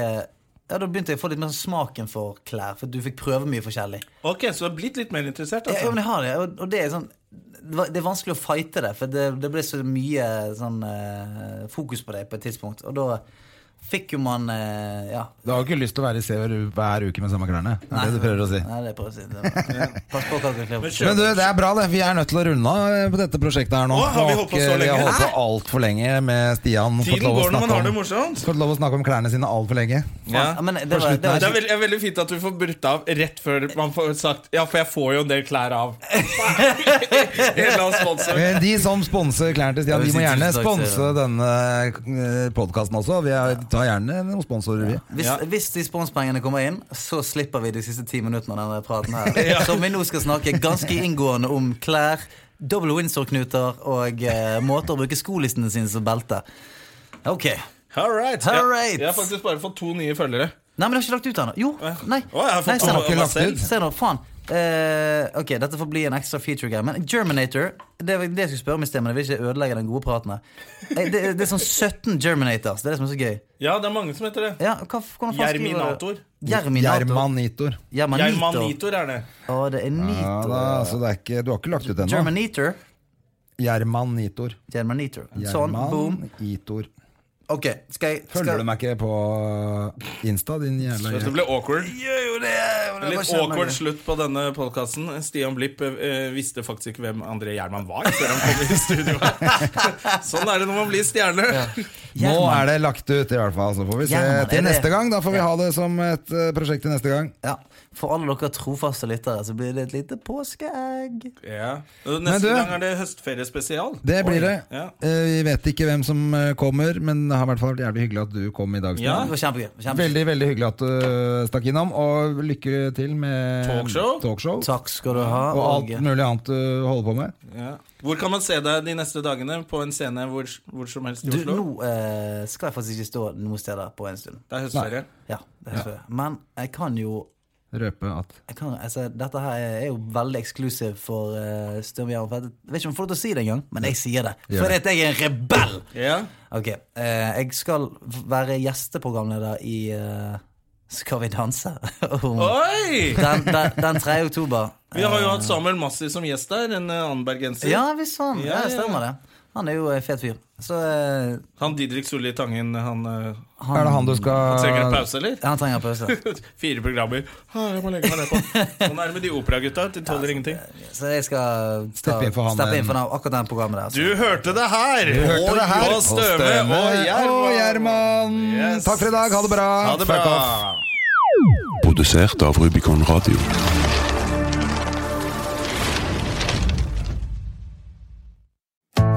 Speaker 3: ja, Da begynte jeg å få litt mer sånn smaken for klær, for du fikk prøve mye forskjellig.
Speaker 1: Ok, Så du har blitt litt mer interessert?
Speaker 3: Ja, ja,
Speaker 1: Altså.
Speaker 3: men jeg har det, og, og det er sånn det var- det er vanskelig å fighte det, for det, det ble så mye sånn, øh, fokus på det på et tidspunkt. Og da fikk jo man øh, Ja.
Speaker 2: Du har jo ikke lyst til å være i CV hver uke med samme klærne. Det er det du prøver å si.
Speaker 3: Nei, det prøver jeg å
Speaker 2: (laughs)
Speaker 3: si. Det- Pass på hva du kler på.
Speaker 2: Men du, det er bra, det. Vi er nødt til å runde av eh, på dette prosjektet her nå. eh,
Speaker 1: Å, har vi holdt på så
Speaker 2: Vi har
Speaker 1: lenge?
Speaker 2: holdt på altfor lenge med Stian. Fått
Speaker 1: Tiden
Speaker 2: lov å
Speaker 1: går når man
Speaker 2: snakke
Speaker 1: har det
Speaker 2: om-
Speaker 1: morsomt.
Speaker 2: Fått lov å snakke om klærne sine altfor lenge.
Speaker 1: Ja.
Speaker 3: Ja, men det var, det var
Speaker 1: Det er veldig, er veldig fint at du får brutt av rett før man får sagt Ja, for jeg får jo en del klær
Speaker 3: (laughs)
Speaker 1: av. En eller annen sponsor.
Speaker 2: Men De som sponser klærne til Stian, de må gjerne sponse denne podkasten eh, også. Vi er Ta gjerne noen sponsorer, vi.
Speaker 3: Hvis, hvis de sponspengene kommer inn, så slipper vi de siste ti minuttene av denne
Speaker 1: (laughs)
Speaker 3: praten her. Som vi nå skal snakke ganske inngående om klær, double Windsor-knuter og eh, måter å bruke skolissene sine som belte. Ok.
Speaker 1: All right.
Speaker 3: All
Speaker 1: Jeg-
Speaker 3: right.
Speaker 1: Jeg har faktisk bare fått to nye følgere.
Speaker 3: Nei, men det har ikke lagt ut ennå. Jo, nei.
Speaker 1: Å, jeg har fått
Speaker 3: nei se,
Speaker 1: to av meg
Speaker 3: nå.
Speaker 1: selv.
Speaker 3: se nå, faen. Eh, ok, Dette får bli en ekstra feature-greie. Men Germinator Det var det jeg skulle spørre om i sted, men jeg vil ikke ødelegge den gode praten her. Eh, Det, det er sånn 17 Germinators. Det er det som er så gøy.
Speaker 1: Ja, det er mange som heter det.
Speaker 3: Ja, hva, hvordan faen skriver du-
Speaker 1: Germinator.
Speaker 3: Germinator.
Speaker 2: Jermanitor.
Speaker 3: Germanitor.
Speaker 1: Germanitor er det.
Speaker 3: Å, det er
Speaker 2: Ja, da,
Speaker 3: nitor.
Speaker 2: så det er ikke, du har ikke lagt ut ennå.
Speaker 3: Germanitor.
Speaker 2: Jermanitor.
Speaker 3: Germanitor. Sånn, boom.
Speaker 2: Jermanitor.
Speaker 3: Ok, skal jeg skal...
Speaker 2: Følger du meg ikke på Insta, din jævla
Speaker 1: Dette ble awkward. En litt
Speaker 3: skjønner
Speaker 1: awkward
Speaker 3: det.
Speaker 1: slutt på denne podkasten. Stian Blipp eh, visste faktisk ikke hvem André Gjerman var før han kom i studio. sånn er det når man blir stjerne.
Speaker 2: Nå
Speaker 3: Jerman.
Speaker 2: er det lagt ut, i hvert fall. Så får vi se
Speaker 3: Jerman, er
Speaker 2: til
Speaker 3: det-
Speaker 2: neste gang. Da får vi ha det som et eh, prosjekt til neste gang.
Speaker 3: Ja, For alle dere trofaste lyttere, så blir det et lite påskeegg.
Speaker 1: Ja.
Speaker 2: Men
Speaker 1: Neste
Speaker 2: du-
Speaker 1: gang er det høstferiespesial.
Speaker 2: Det blir det.
Speaker 1: Ja.
Speaker 2: Eh, Vi vet ikke hvem som eh, kommer, men det har i hvert fall vært jævlig hyggelig at du kom i dag. Stian.
Speaker 1: Ja.
Speaker 3: Det var kjempegøy. kjempegøy.
Speaker 2: Veldig veldig hyggelig at du stakk innom, og lykke til med
Speaker 1: Talkshow.
Speaker 2: talkshow,
Speaker 3: Takk skal du ha.
Speaker 2: og alt
Speaker 3: og-
Speaker 2: mulig annet du holder på med.
Speaker 1: Ja. Hvor kan man se deg de neste dagene? På en scene hvor, hvor som helst i
Speaker 3: Du,
Speaker 1: Oslo?
Speaker 3: nå eh, skal jeg faktisk ikke stå noen steder på en stund.
Speaker 1: Det er høstferie.
Speaker 3: Ja, det er så- Men jeg kan jo
Speaker 2: Røpe at
Speaker 3: jeg kan, altså, Dette her er jo veldig eksklusivt for uh, Stømjern. For jeg vet ikke om jeg får lov til å si det engang, men jeg sier det.
Speaker 2: Gjør det.
Speaker 3: Fordi at jeg er en rebell!
Speaker 1: Ja.
Speaker 3: Ok, eh, jeg skal v- være gjesteprogramleder i eh, Skal vi danse? (laughs) Om-
Speaker 1: Oi!
Speaker 3: den, den, den 3. oktober. Eh,
Speaker 1: Vi har jo hatt Samuel Massi som gjest der. En eh, annen bergenser.
Speaker 3: Ja visst, han.
Speaker 1: Ja,
Speaker 3: Ja, det
Speaker 1: ja.
Speaker 3: stemmer det. Han er jo en fet fyr. Så eh,
Speaker 1: Han Didrik Solli Tangen, han eh,
Speaker 2: Er det han du
Speaker 1: trenger en
Speaker 2: skal
Speaker 1: pause, eller?
Speaker 3: han
Speaker 2: (laughs)
Speaker 3: trenger pause.
Speaker 1: (laughs) Fire programmer. Ah, jeg må legge meg nedpå. Sånn er det med de operagutta. De tåler ingenting.
Speaker 3: Så jeg skal ta,
Speaker 2: Steppe inn for han, eh,
Speaker 3: steppe
Speaker 2: den-
Speaker 3: inn for den, akkurat den programmet der.
Speaker 1: Du hørte det her!
Speaker 2: Du hørte det her.
Speaker 1: Og Støme og Gjerman.
Speaker 2: Og Gjerman.
Speaker 1: Yes.
Speaker 2: Takk for i dag. Ha det bra.
Speaker 1: Ha det
Speaker 2: Fuck off.
Speaker 1: bra.
Speaker 4: Produsert av Rubicon Radio.